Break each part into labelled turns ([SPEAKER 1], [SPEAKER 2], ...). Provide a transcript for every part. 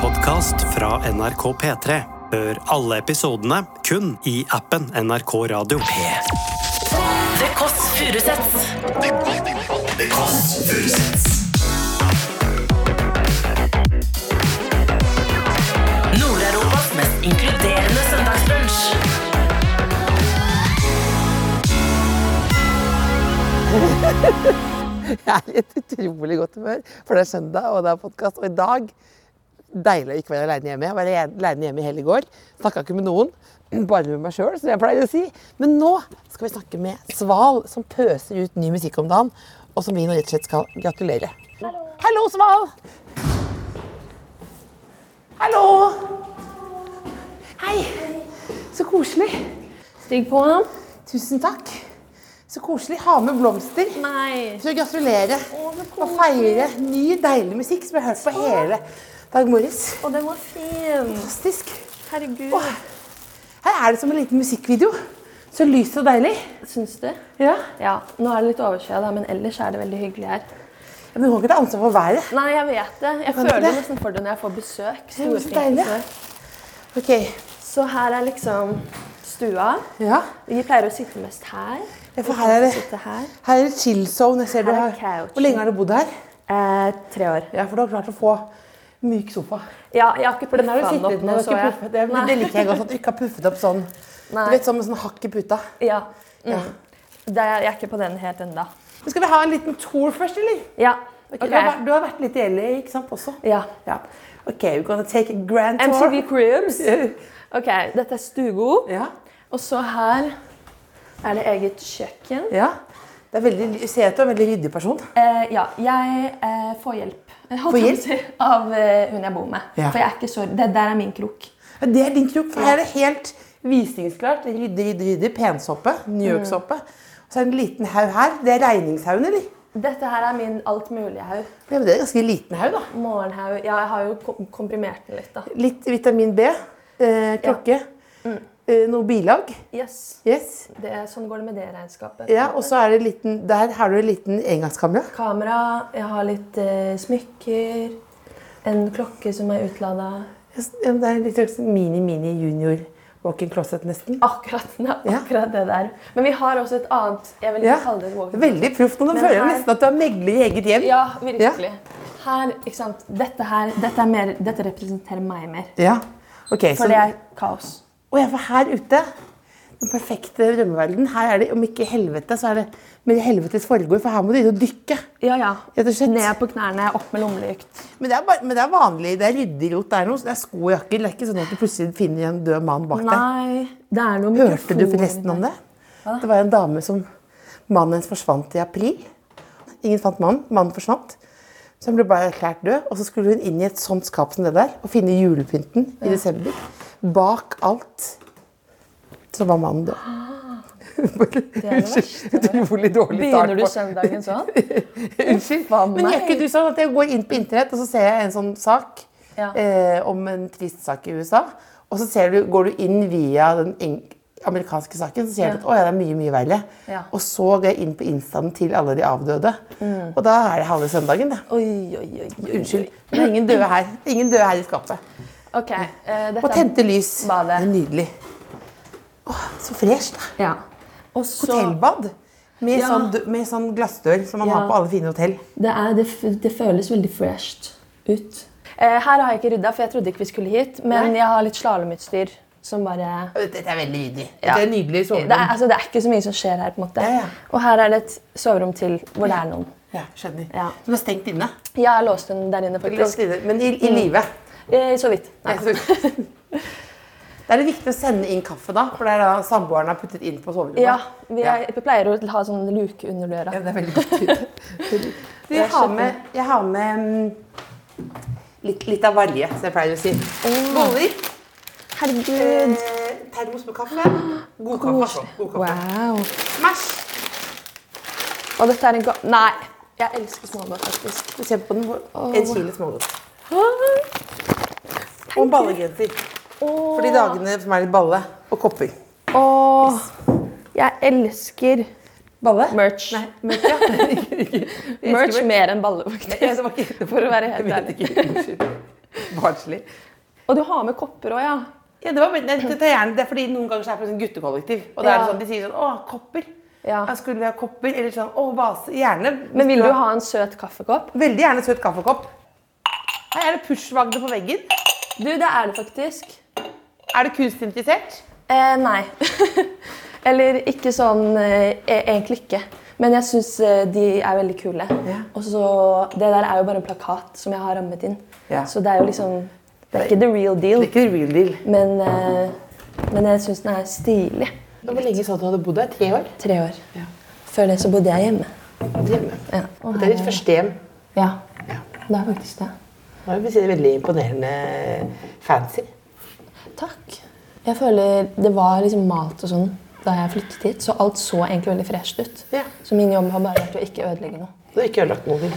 [SPEAKER 1] podkast fra NRK P3. Hør alle episodene kun i appen NRK Radio.
[SPEAKER 2] The Kåss Furuseths. Nord-Europas mest inkluderende søndagsbrunch.
[SPEAKER 3] Jeg er i et utrolig godt humør, for det er søndag og det er podkast. Og i dag Deilig å ikke være aleine hjemme. Jeg var aleine hjemme i hele går. Snakka ikke med noen. Bare med meg sjøl, som jeg pleier å si. Men nå skal vi snakke med Sval, som pøser ut ny musikk om dagen. Og som vi nå rett og slett skal gratulere. Hallo, Sval! Hallo! Hei! Så koselig.
[SPEAKER 4] Stig på ham.
[SPEAKER 3] Tusen takk. Så koselig. Ha med blomster.
[SPEAKER 4] Nei.
[SPEAKER 3] Så gratulerer og feire ny, deilig musikk som jeg har hørt på hele dag morges.
[SPEAKER 4] Å, den var fin.
[SPEAKER 3] Fantastisk.
[SPEAKER 4] Herregud.
[SPEAKER 3] Åh. Her er det som en liten musikkvideo. Så lyst og deilig.
[SPEAKER 4] Syns du?
[SPEAKER 3] Ja.
[SPEAKER 4] Ja. Nå er det litt overskya, da, men ellers er det veldig hyggelig her.
[SPEAKER 3] Men du kan ikke ta ansvar for været.
[SPEAKER 4] Nei, jeg vet det. Jeg
[SPEAKER 3] Kan du
[SPEAKER 4] føler
[SPEAKER 3] det?
[SPEAKER 4] nesten for det når jeg får besøk.
[SPEAKER 3] Ja, men så
[SPEAKER 4] Store,
[SPEAKER 3] deilig.
[SPEAKER 4] flinke besøk.
[SPEAKER 3] Ok.
[SPEAKER 4] Så her er liksom stua.
[SPEAKER 3] Ja.
[SPEAKER 4] Vi pleier å sitte mest her.
[SPEAKER 3] Ja, for her er det
[SPEAKER 4] Sitte her.
[SPEAKER 3] her er det chill zone. Jeg ser du
[SPEAKER 4] Her er
[SPEAKER 3] har,
[SPEAKER 4] couchen.
[SPEAKER 3] hvor lenge har du bodd her?
[SPEAKER 4] Eh, tre år.
[SPEAKER 3] Ja, For du har klart å få myk sofa.
[SPEAKER 4] Ja, jeg har ikke
[SPEAKER 3] For den har du
[SPEAKER 4] puffa den
[SPEAKER 3] sittet
[SPEAKER 4] opp
[SPEAKER 3] med.
[SPEAKER 4] nå,
[SPEAKER 3] du har
[SPEAKER 4] så
[SPEAKER 3] ikke
[SPEAKER 4] jeg.
[SPEAKER 3] puffet- Det,
[SPEAKER 4] Nei.
[SPEAKER 3] det liker jeg godt. At du ikke har puffet opp sånn.
[SPEAKER 4] Nei.
[SPEAKER 3] Du vet, Som en sånn hakk i puta.
[SPEAKER 4] Ja. Mm.
[SPEAKER 3] Ja.
[SPEAKER 4] Det er, jeg er ikke på den helt ennå.
[SPEAKER 3] Men Skal vi ha en liten tour først, eller?
[SPEAKER 4] Ja.
[SPEAKER 3] Ok, Du, har, vært- du har vært litt i LA, ikke sant, også?
[SPEAKER 4] Ja.
[SPEAKER 3] Ja. Ok, we're gonna take a grand tour.
[SPEAKER 4] MTV Cribs. OK, dette er stugo.
[SPEAKER 3] Ja,
[SPEAKER 4] Og så her er det eget kjøkken.
[SPEAKER 3] ja. Det er veldig, jeg ser at du er en veldig ryddig person.
[SPEAKER 4] Eh, ja, jeg eh, får hjelp Jeg holdt
[SPEAKER 3] Får
[SPEAKER 4] på å
[SPEAKER 3] hjelp?
[SPEAKER 4] si, av eh, hun jeg bor med.
[SPEAKER 3] Ja.
[SPEAKER 4] For jeg er ikke så Det der er min krok.
[SPEAKER 3] Ja, Det er din krok, for her er det helt visningsklart. Ryddig, ryddig, ryddig. Pensoppe. New York-soppe. Og så er det en liten haug her. Det er regningshaugen, eller?
[SPEAKER 4] Dette her er min altmulighaug.
[SPEAKER 3] Ja, men det er en ganske liten haug, da.
[SPEAKER 4] Morgenhaug. Ja, jeg har jo kom- komprimert den litt, da.
[SPEAKER 3] Litt vitamin B. Eh, klokke. Eh, noe bilag.
[SPEAKER 4] Yes.
[SPEAKER 3] Yes.
[SPEAKER 4] Det er, sånn går det med det regnskapet.
[SPEAKER 3] Ja, og så er det en liten, der har du en liten engangskamera.
[SPEAKER 4] Kamera. Jeg har litt eh, smykker. En klokke som er utlada.
[SPEAKER 3] Ja, men Det er en litt mini-mini-junior walk-in closet, nesten.
[SPEAKER 4] Akkurat, ja,
[SPEAKER 3] Ja.
[SPEAKER 4] akkurat det der. Men vi har også et annet Jeg vil ikke
[SPEAKER 3] Ja.
[SPEAKER 4] kalle det et walk-in.
[SPEAKER 3] Veldig proft. men Nå
[SPEAKER 4] Men
[SPEAKER 3] føler jeg
[SPEAKER 4] her-
[SPEAKER 3] nesten at du er megler i eget hjem.
[SPEAKER 4] Ja, virkelig. Her, ikke sant? Dette her, dette, er mer, dette representerer meg mer.
[SPEAKER 3] Ja. Ok, så,
[SPEAKER 4] For det er kaos.
[SPEAKER 3] Og jeg var her ute. Den perfekte drømmeverden. Her er det, om ikke helvete, så er det med helvetes forgård, for her må du inn og dykke.
[SPEAKER 4] Ja, ja.
[SPEAKER 3] Rett og slett.
[SPEAKER 4] Ned på knærne, opp med lommelykt.
[SPEAKER 3] Men det er, bare, men det er vanlig, det er ryddig rot. Det er, noe, det er sko og jakker. Det er ikke sånn at du plutselig finner en død mann bak deg.
[SPEAKER 4] Nei, det er noe
[SPEAKER 3] Hørte du forresten om det?
[SPEAKER 4] Hva da?
[SPEAKER 3] Det var en dame som Mannen hennes forsvant i april. Ingen fant mannen. Mannen forsvant. Så han ble bare erklært død. Og så skulle hun inn i et sånt skap som det der og finne julepynten i desember. Bak alt så var mannen død.
[SPEAKER 4] Det er det verste.
[SPEAKER 3] Utrolig dårlig start.
[SPEAKER 4] Begynner du
[SPEAKER 3] på-
[SPEAKER 4] søndagen sånn?
[SPEAKER 3] Unnskyld.
[SPEAKER 4] Faen
[SPEAKER 3] Men gjør
[SPEAKER 4] meg.
[SPEAKER 3] ikke du sånn at jeg går inn på internett og så ser jeg en sånn sak
[SPEAKER 4] Ja.
[SPEAKER 3] eh, om en trist sak i USA, og så ser du, går du inn via den eng- amerikanske saken, så ser du
[SPEAKER 4] Ja.
[SPEAKER 3] at å, ja, det er mye, mye verre.
[SPEAKER 4] Ja.
[SPEAKER 3] Og så går jeg inn på instaen til alle de avdøde.
[SPEAKER 4] Mm.
[SPEAKER 3] Og da er det halve søndagen, det.
[SPEAKER 4] Oi, oi, oi. oi.
[SPEAKER 3] Unnskyld. Men det er ingen døde her. Ingen døde her i skapet.
[SPEAKER 4] Ok, eh,
[SPEAKER 3] Og
[SPEAKER 4] dette
[SPEAKER 3] tente lys. Det
[SPEAKER 4] Badet.
[SPEAKER 3] er nydelig. Åh, så fresh, da.
[SPEAKER 4] Ja. Og så
[SPEAKER 3] Hotellbad. Med,
[SPEAKER 4] Ja.
[SPEAKER 3] sånn, dø- med sånn glassdør som man
[SPEAKER 4] Ja.
[SPEAKER 3] har på alle fine hotell.
[SPEAKER 4] det, er, det, f- det føles veldig fresht ut. Eh, her har jeg ikke rydda, for jeg trodde ikke vi skulle hit. Men
[SPEAKER 3] Nei.
[SPEAKER 4] jeg har litt slalåmutstyr som bare
[SPEAKER 3] Dette er veldig ryddig.
[SPEAKER 4] Ja.
[SPEAKER 3] Dette er nydelig
[SPEAKER 4] Det er,
[SPEAKER 3] soverom.
[SPEAKER 4] altså, det er ikke så mye som skjer her. på en måte.
[SPEAKER 3] Ja, ja.
[SPEAKER 4] Og her er det et soverom til hvor det er noen.
[SPEAKER 3] Ja, skjønner.
[SPEAKER 4] Ja.
[SPEAKER 3] Så du er stengt inne. Mm.
[SPEAKER 4] Jeg har låst den der inne, faktisk.
[SPEAKER 3] Låst inne. Men i, i live.
[SPEAKER 4] Eh, så vidt. Nei.
[SPEAKER 3] Da er det viktig å sende inn kaffe, da. For det er da samboeren har puttet inn på soverommet.
[SPEAKER 4] Ja, vi, er,
[SPEAKER 3] Ja.
[SPEAKER 4] vi pleier å ha sånn luke under døra.
[SPEAKER 3] Ja, det er veldig godt. Du, jeg har med, jeg har med mm, litt, litt av varje, som jeg pleier å si. Boller.
[SPEAKER 4] Herregud.
[SPEAKER 3] Eh, termos med kaffe. God kaffe. altså. God kaffe.
[SPEAKER 4] Wow.
[SPEAKER 3] Smash!
[SPEAKER 4] Og dette er en ga... Nei. Jeg elsker smågodt, faktisk.
[SPEAKER 3] Du ser på den. hvor- En kilo smågodt.
[SPEAKER 4] Å,
[SPEAKER 3] Og en ballegenser. For de dagene som er litt balle. Og kopper.
[SPEAKER 4] jeg elsker
[SPEAKER 3] Balle?
[SPEAKER 4] merch.
[SPEAKER 3] Nei, merch, ja.
[SPEAKER 4] merch mer enn balle, faktisk.
[SPEAKER 3] det var ikke
[SPEAKER 4] For å være helt
[SPEAKER 3] Jeg vet
[SPEAKER 4] ærlig.
[SPEAKER 3] ikke. Unnskyld. Barnslig.
[SPEAKER 4] Og du har med kopper òg, ja.
[SPEAKER 3] Ja, det, var, men- nei, det, det, er gjerne, det er fordi noen ganger så er det sånn guttekollektiv. Og da er det
[SPEAKER 4] Ja.
[SPEAKER 3] sånn, de sier sånn Å, kopper.
[SPEAKER 4] Ja.
[SPEAKER 3] Ja, skulle vi ha kopper? Eller sånn Å, vase. Gjerne.
[SPEAKER 4] Men vil du ha en søt kaffekopp?
[SPEAKER 3] Veldig gjerne søt kaffekopp. Her er det pushvagner på veggen.
[SPEAKER 4] Du, det er det faktisk.
[SPEAKER 3] Er du kunstig interessert?
[SPEAKER 4] Eh, nei. Eller ikke sånn eh, e- Egentlig ikke. Men jeg syns eh, de er veldig kule.
[SPEAKER 3] Ja.
[SPEAKER 4] Og så Det der er jo bare en plakat som jeg har rammet inn.
[SPEAKER 3] Ja.
[SPEAKER 4] Så det er jo liksom Det er ikke the real deal.
[SPEAKER 3] Det er ikke real deal.
[SPEAKER 4] Men, eh, men jeg syns den er stilig.
[SPEAKER 3] Hvor lenge sa du hadde bodd her? Tre år?
[SPEAKER 4] Tre år. Før det så bodde jeg hjemme.
[SPEAKER 3] Hjemme.
[SPEAKER 4] Ja. Og
[SPEAKER 3] Det er ditt
[SPEAKER 4] her-
[SPEAKER 3] første hjem.
[SPEAKER 4] Ja. Det er faktisk det.
[SPEAKER 3] Det er jo veldig imponerende fancy.
[SPEAKER 4] Takk. Jeg føler det var liksom malt og sånn da jeg flyttet hit, så alt så egentlig veldig fresht ut.
[SPEAKER 3] Ja.
[SPEAKER 4] Så min jobb har bare vært å ikke ødelegge noe.
[SPEAKER 3] Du har ikke ødelagt noe.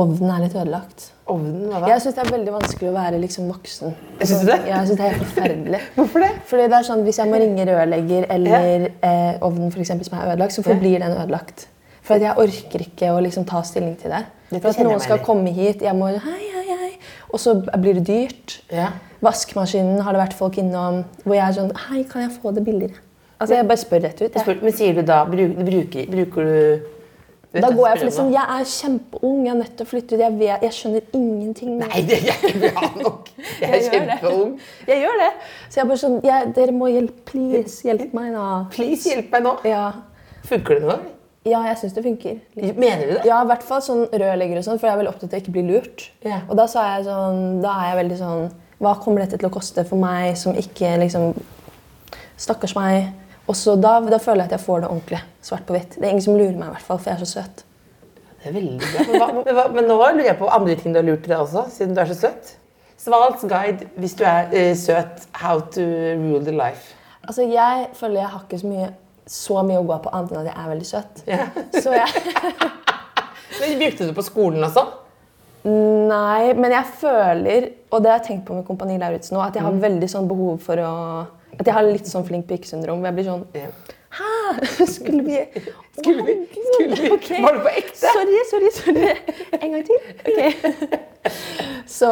[SPEAKER 4] Ovnen er litt ødelagt.
[SPEAKER 3] Ovnen, hva
[SPEAKER 4] Jeg syns det er veldig vanskelig å være liksom voksen.
[SPEAKER 3] Synes du det?
[SPEAKER 4] Ja, jeg synes det er helt forferdelig.
[SPEAKER 3] Hvorfor det?
[SPEAKER 4] Fordi det er sånn, Hvis jeg må ringe rørlegger eller eh, ovnen for eksempel, som er ødelagt, så forblir den ødelagt. For at jeg orker ikke å liksom ta stilling til det.
[SPEAKER 3] Dette
[SPEAKER 4] For at
[SPEAKER 3] kjenner jeg
[SPEAKER 4] noen
[SPEAKER 3] meg
[SPEAKER 4] skal
[SPEAKER 3] igjen i.
[SPEAKER 4] komme hit, jeg må hei, hei, hei. Og så blir det dyrt.
[SPEAKER 3] Ja.
[SPEAKER 4] Vaskemaskinen har det vært folk innom hvor jeg er sånn Hei, kan jeg få det billigere? Altså, Jeg bare spør rett ut.
[SPEAKER 3] Jeg
[SPEAKER 4] Jeg.
[SPEAKER 3] spør, men sier du da bru- bruker, bruker du Vet
[SPEAKER 4] Da
[SPEAKER 3] du,
[SPEAKER 4] går jeg for
[SPEAKER 3] spør
[SPEAKER 4] liksom
[SPEAKER 3] du da?
[SPEAKER 4] Jeg er kjempeung, jeg er nødt til å flytte ut. Jeg, vet, jeg skjønner ingenting.
[SPEAKER 3] Nei, det er ikke bra nok. Jeg er
[SPEAKER 4] Jeg gjør det.
[SPEAKER 3] kjempeung.
[SPEAKER 4] Jeg gjør det. Så jeg er bare sånn jeg, Dere må hjelpe. Please, hjelp meg nå.
[SPEAKER 3] Please, hjelp meg nå.
[SPEAKER 4] Ja,
[SPEAKER 3] Funker det nå?
[SPEAKER 4] ja jeg syns det funker.
[SPEAKER 3] Mener du det?
[SPEAKER 4] Ja, i hvert fall sånn rørlegger og sånn, for jeg er veldig opptatt av å ikke bli lurt.
[SPEAKER 3] Ja.
[SPEAKER 4] Og da sa jeg sånn Da er jeg veldig sånn Hva kommer dette til å koste for meg som ikke liksom Stakkars meg. Og så da, da føler jeg at jeg får det ordentlig. Svart på hvitt. Det er ingen som lurer meg, i hvert fall, for jeg er så søt.
[SPEAKER 3] Det er veldig bra. Men, hva, men, hva, men nå lurer jeg på andre ting du har lurt til deg også, siden du er så søt. Svals guide hvis du er eh, søt. How to rule the life.
[SPEAKER 4] Altså, jeg føler jeg har ikke så mye så mye å gå på annet enn at jeg er veldig søt. Så jeg,
[SPEAKER 3] Men Brukte du det på skolen også?
[SPEAKER 4] nei, men jeg føler, og det har jeg tenkt på med Kompani Lauritzen nå, at jeg
[SPEAKER 3] Mm.
[SPEAKER 4] har veldig sånn behov for å At jeg har litt sånn flink pike-syndrom. hvor Jeg blir sånn
[SPEAKER 3] Ja.
[SPEAKER 4] Hæ? Skulle vi
[SPEAKER 3] Skulle vi-
[SPEAKER 4] Å, herregud.
[SPEAKER 3] skulle vi-
[SPEAKER 4] Ok.
[SPEAKER 3] var det på ekte?
[SPEAKER 4] Sorry, sorry, sorry. En gang til. Ok. Så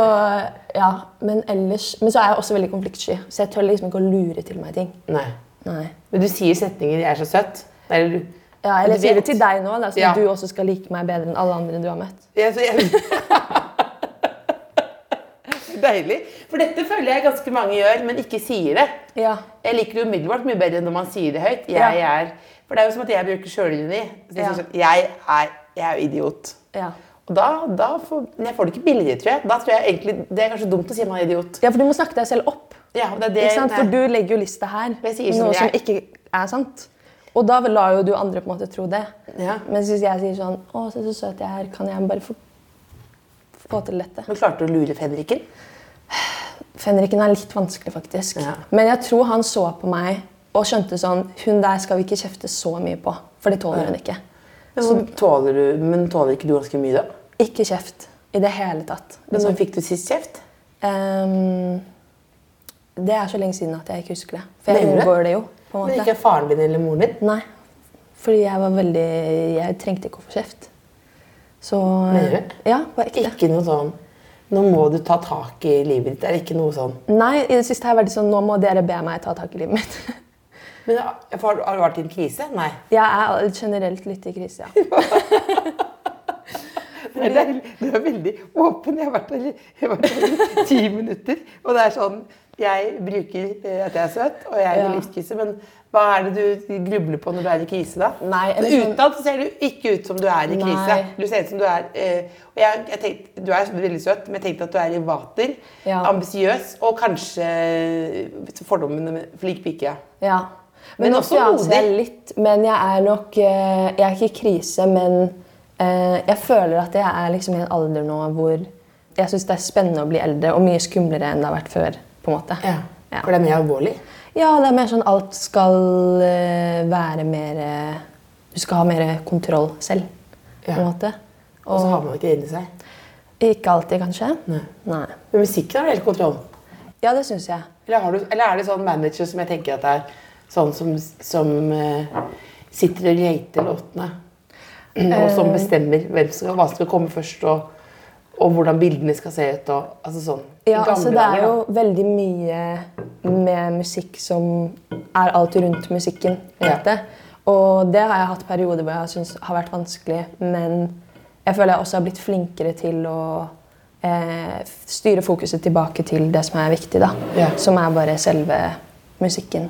[SPEAKER 4] ja. Men ellers Men så er jeg også veldig konfliktsky, så jeg tør liksom ikke å lure til meg ting.
[SPEAKER 3] Nei.
[SPEAKER 4] Nei.
[SPEAKER 3] Men du sier setninger 'jeg er så søt'. Eller du
[SPEAKER 4] Ja,
[SPEAKER 3] Du
[SPEAKER 4] eller jeg sier det
[SPEAKER 3] vet.
[SPEAKER 4] til deg nå, da, så
[SPEAKER 3] Ja.
[SPEAKER 4] du også skal like meg bedre enn alle andre du har møtt.
[SPEAKER 3] Ja, så jeg... Deilig. For dette føler jeg ganske mange gjør, men ikke sier det.
[SPEAKER 4] Ja.
[SPEAKER 3] Jeg liker det umiddelbart mye bedre enn når man sier det høyt. Jeg
[SPEAKER 4] Ja.
[SPEAKER 3] er... For det er jo som at jeg bruker sjølironi. Så Jeg,
[SPEAKER 4] Ja.
[SPEAKER 3] sier sånn, jeg, er- jeg er jo idiot.
[SPEAKER 4] Ja.
[SPEAKER 3] Og da, da får men jeg får det ikke billigere, tror jeg. Da tror jeg egentlig, Det er kanskje dumt å si man er idiot.
[SPEAKER 4] ja, for du må snakke deg selv opp.
[SPEAKER 3] Ja, og det er det,
[SPEAKER 4] Ikke sant? For
[SPEAKER 3] nei.
[SPEAKER 4] du legger jo lista her.
[SPEAKER 3] Jeg sier som
[SPEAKER 4] Noe som
[SPEAKER 3] jeg.
[SPEAKER 4] ikke er sant. Og da lar jo du andre på en måte tro det.
[SPEAKER 3] Ja.
[SPEAKER 4] Men hvis jeg sier sånn Å, se så søt jeg er. Kan jeg bare få, få til dette?
[SPEAKER 3] Men klarte du å lure Fenriken?
[SPEAKER 4] Fenriken er litt vanskelig, faktisk.
[SPEAKER 3] Ja.
[SPEAKER 4] Men jeg tror han så på meg og skjønte sånn Hun der skal vi ikke kjefte så mye på. For det tåler hun ikke.
[SPEAKER 3] Men, så, tåler du, men tåler ikke du ganske mye, da?
[SPEAKER 4] Ikke kjeft i det hele tatt. Altså,
[SPEAKER 3] Men når fikk du sist kjeft?
[SPEAKER 4] Ehm, det er så lenge siden at jeg ikke husker det. For jeg
[SPEAKER 3] Mener du det?
[SPEAKER 4] unngår det jo. på en
[SPEAKER 3] Men
[SPEAKER 4] måte.
[SPEAKER 3] ikke faren din eller moren din?
[SPEAKER 4] Nei. Fordi jeg var veldig Jeg trengte ikke å få kjeft. Så
[SPEAKER 3] Mener du?
[SPEAKER 4] Ja, på ekte.
[SPEAKER 3] Ikke noe sånn Nå må du ta tak i livet ditt. Det er ikke noe sånn
[SPEAKER 4] Nei, i det siste har jeg vært sånn Nå må dere be meg ta tak i livet mitt.
[SPEAKER 3] Men har har du vært i en krise? Nei.
[SPEAKER 4] Jeg er generelt litt i krise, ja.
[SPEAKER 3] Nei, det, er, det er veldig åpen. Jeg har vært der i- jeg har vært der i ti minutter. Og det er sånn Jeg bruker eh, at jeg er søt, og jeg er i
[SPEAKER 4] Ja.
[SPEAKER 3] livskrise, men hva er det du grubler på når du er i krise, da?
[SPEAKER 4] Nei,
[SPEAKER 3] Så
[SPEAKER 4] eller sånn-
[SPEAKER 3] Utad så ser du ikke ut som du er i krise.
[SPEAKER 4] Nei.
[SPEAKER 3] Du ser ut som du er eh, og jeg, jeg tenkte, Du er veldig søt, men jeg tenkte at du er i vater,
[SPEAKER 4] Ja.
[SPEAKER 3] ambisiøs og kanskje fordommene med flink pike. ja.
[SPEAKER 4] ja.
[SPEAKER 3] Men også
[SPEAKER 4] ja, så
[SPEAKER 3] modig.
[SPEAKER 4] jeg er litt, men jeg er nok eh, Jeg er ikke i krise, men eh, jeg føler at jeg er liksom i en alder nå hvor jeg syns det er spennende å bli eldre, og mye skumlere enn det har vært før. på en måte. Ja.
[SPEAKER 3] For det er mer alvorlig.
[SPEAKER 4] Ja, det er mer sånn alt skal eh, være mer eh, Du skal ha mer kontroll selv, på en
[SPEAKER 3] Ja.
[SPEAKER 4] måte.
[SPEAKER 3] Og så
[SPEAKER 4] Og
[SPEAKER 3] har man ikke det inni seg.
[SPEAKER 4] ikke alltid, kanskje.
[SPEAKER 3] Nei.
[SPEAKER 4] Nei.
[SPEAKER 3] Men musikken har du helt kontroll.
[SPEAKER 4] Ja, det syns jeg.
[SPEAKER 3] Eller, har du, eller er det sånn manager som jeg tenker at det er sånn som, som eh, sitter
[SPEAKER 4] Eh.
[SPEAKER 3] og leter låtene? Og som bestemmer hvem som, hva som skal komme først, og, og hvordan bildene skal se ut. og altså sånn.
[SPEAKER 4] Ja,
[SPEAKER 3] Gamle
[SPEAKER 4] altså det
[SPEAKER 3] dager,
[SPEAKER 4] er
[SPEAKER 3] da.
[SPEAKER 4] jo veldig mye med musikk som er alt rundt musikken. på en
[SPEAKER 3] Ja.
[SPEAKER 4] måte. Og det har jeg hatt perioder hvor jeg syns har vært vanskelig, men jeg føler jeg også har blitt flinkere til å eh, f- styre fokuset tilbake til det som er viktig, da.
[SPEAKER 3] Ja.
[SPEAKER 4] Som er bare selve musikken.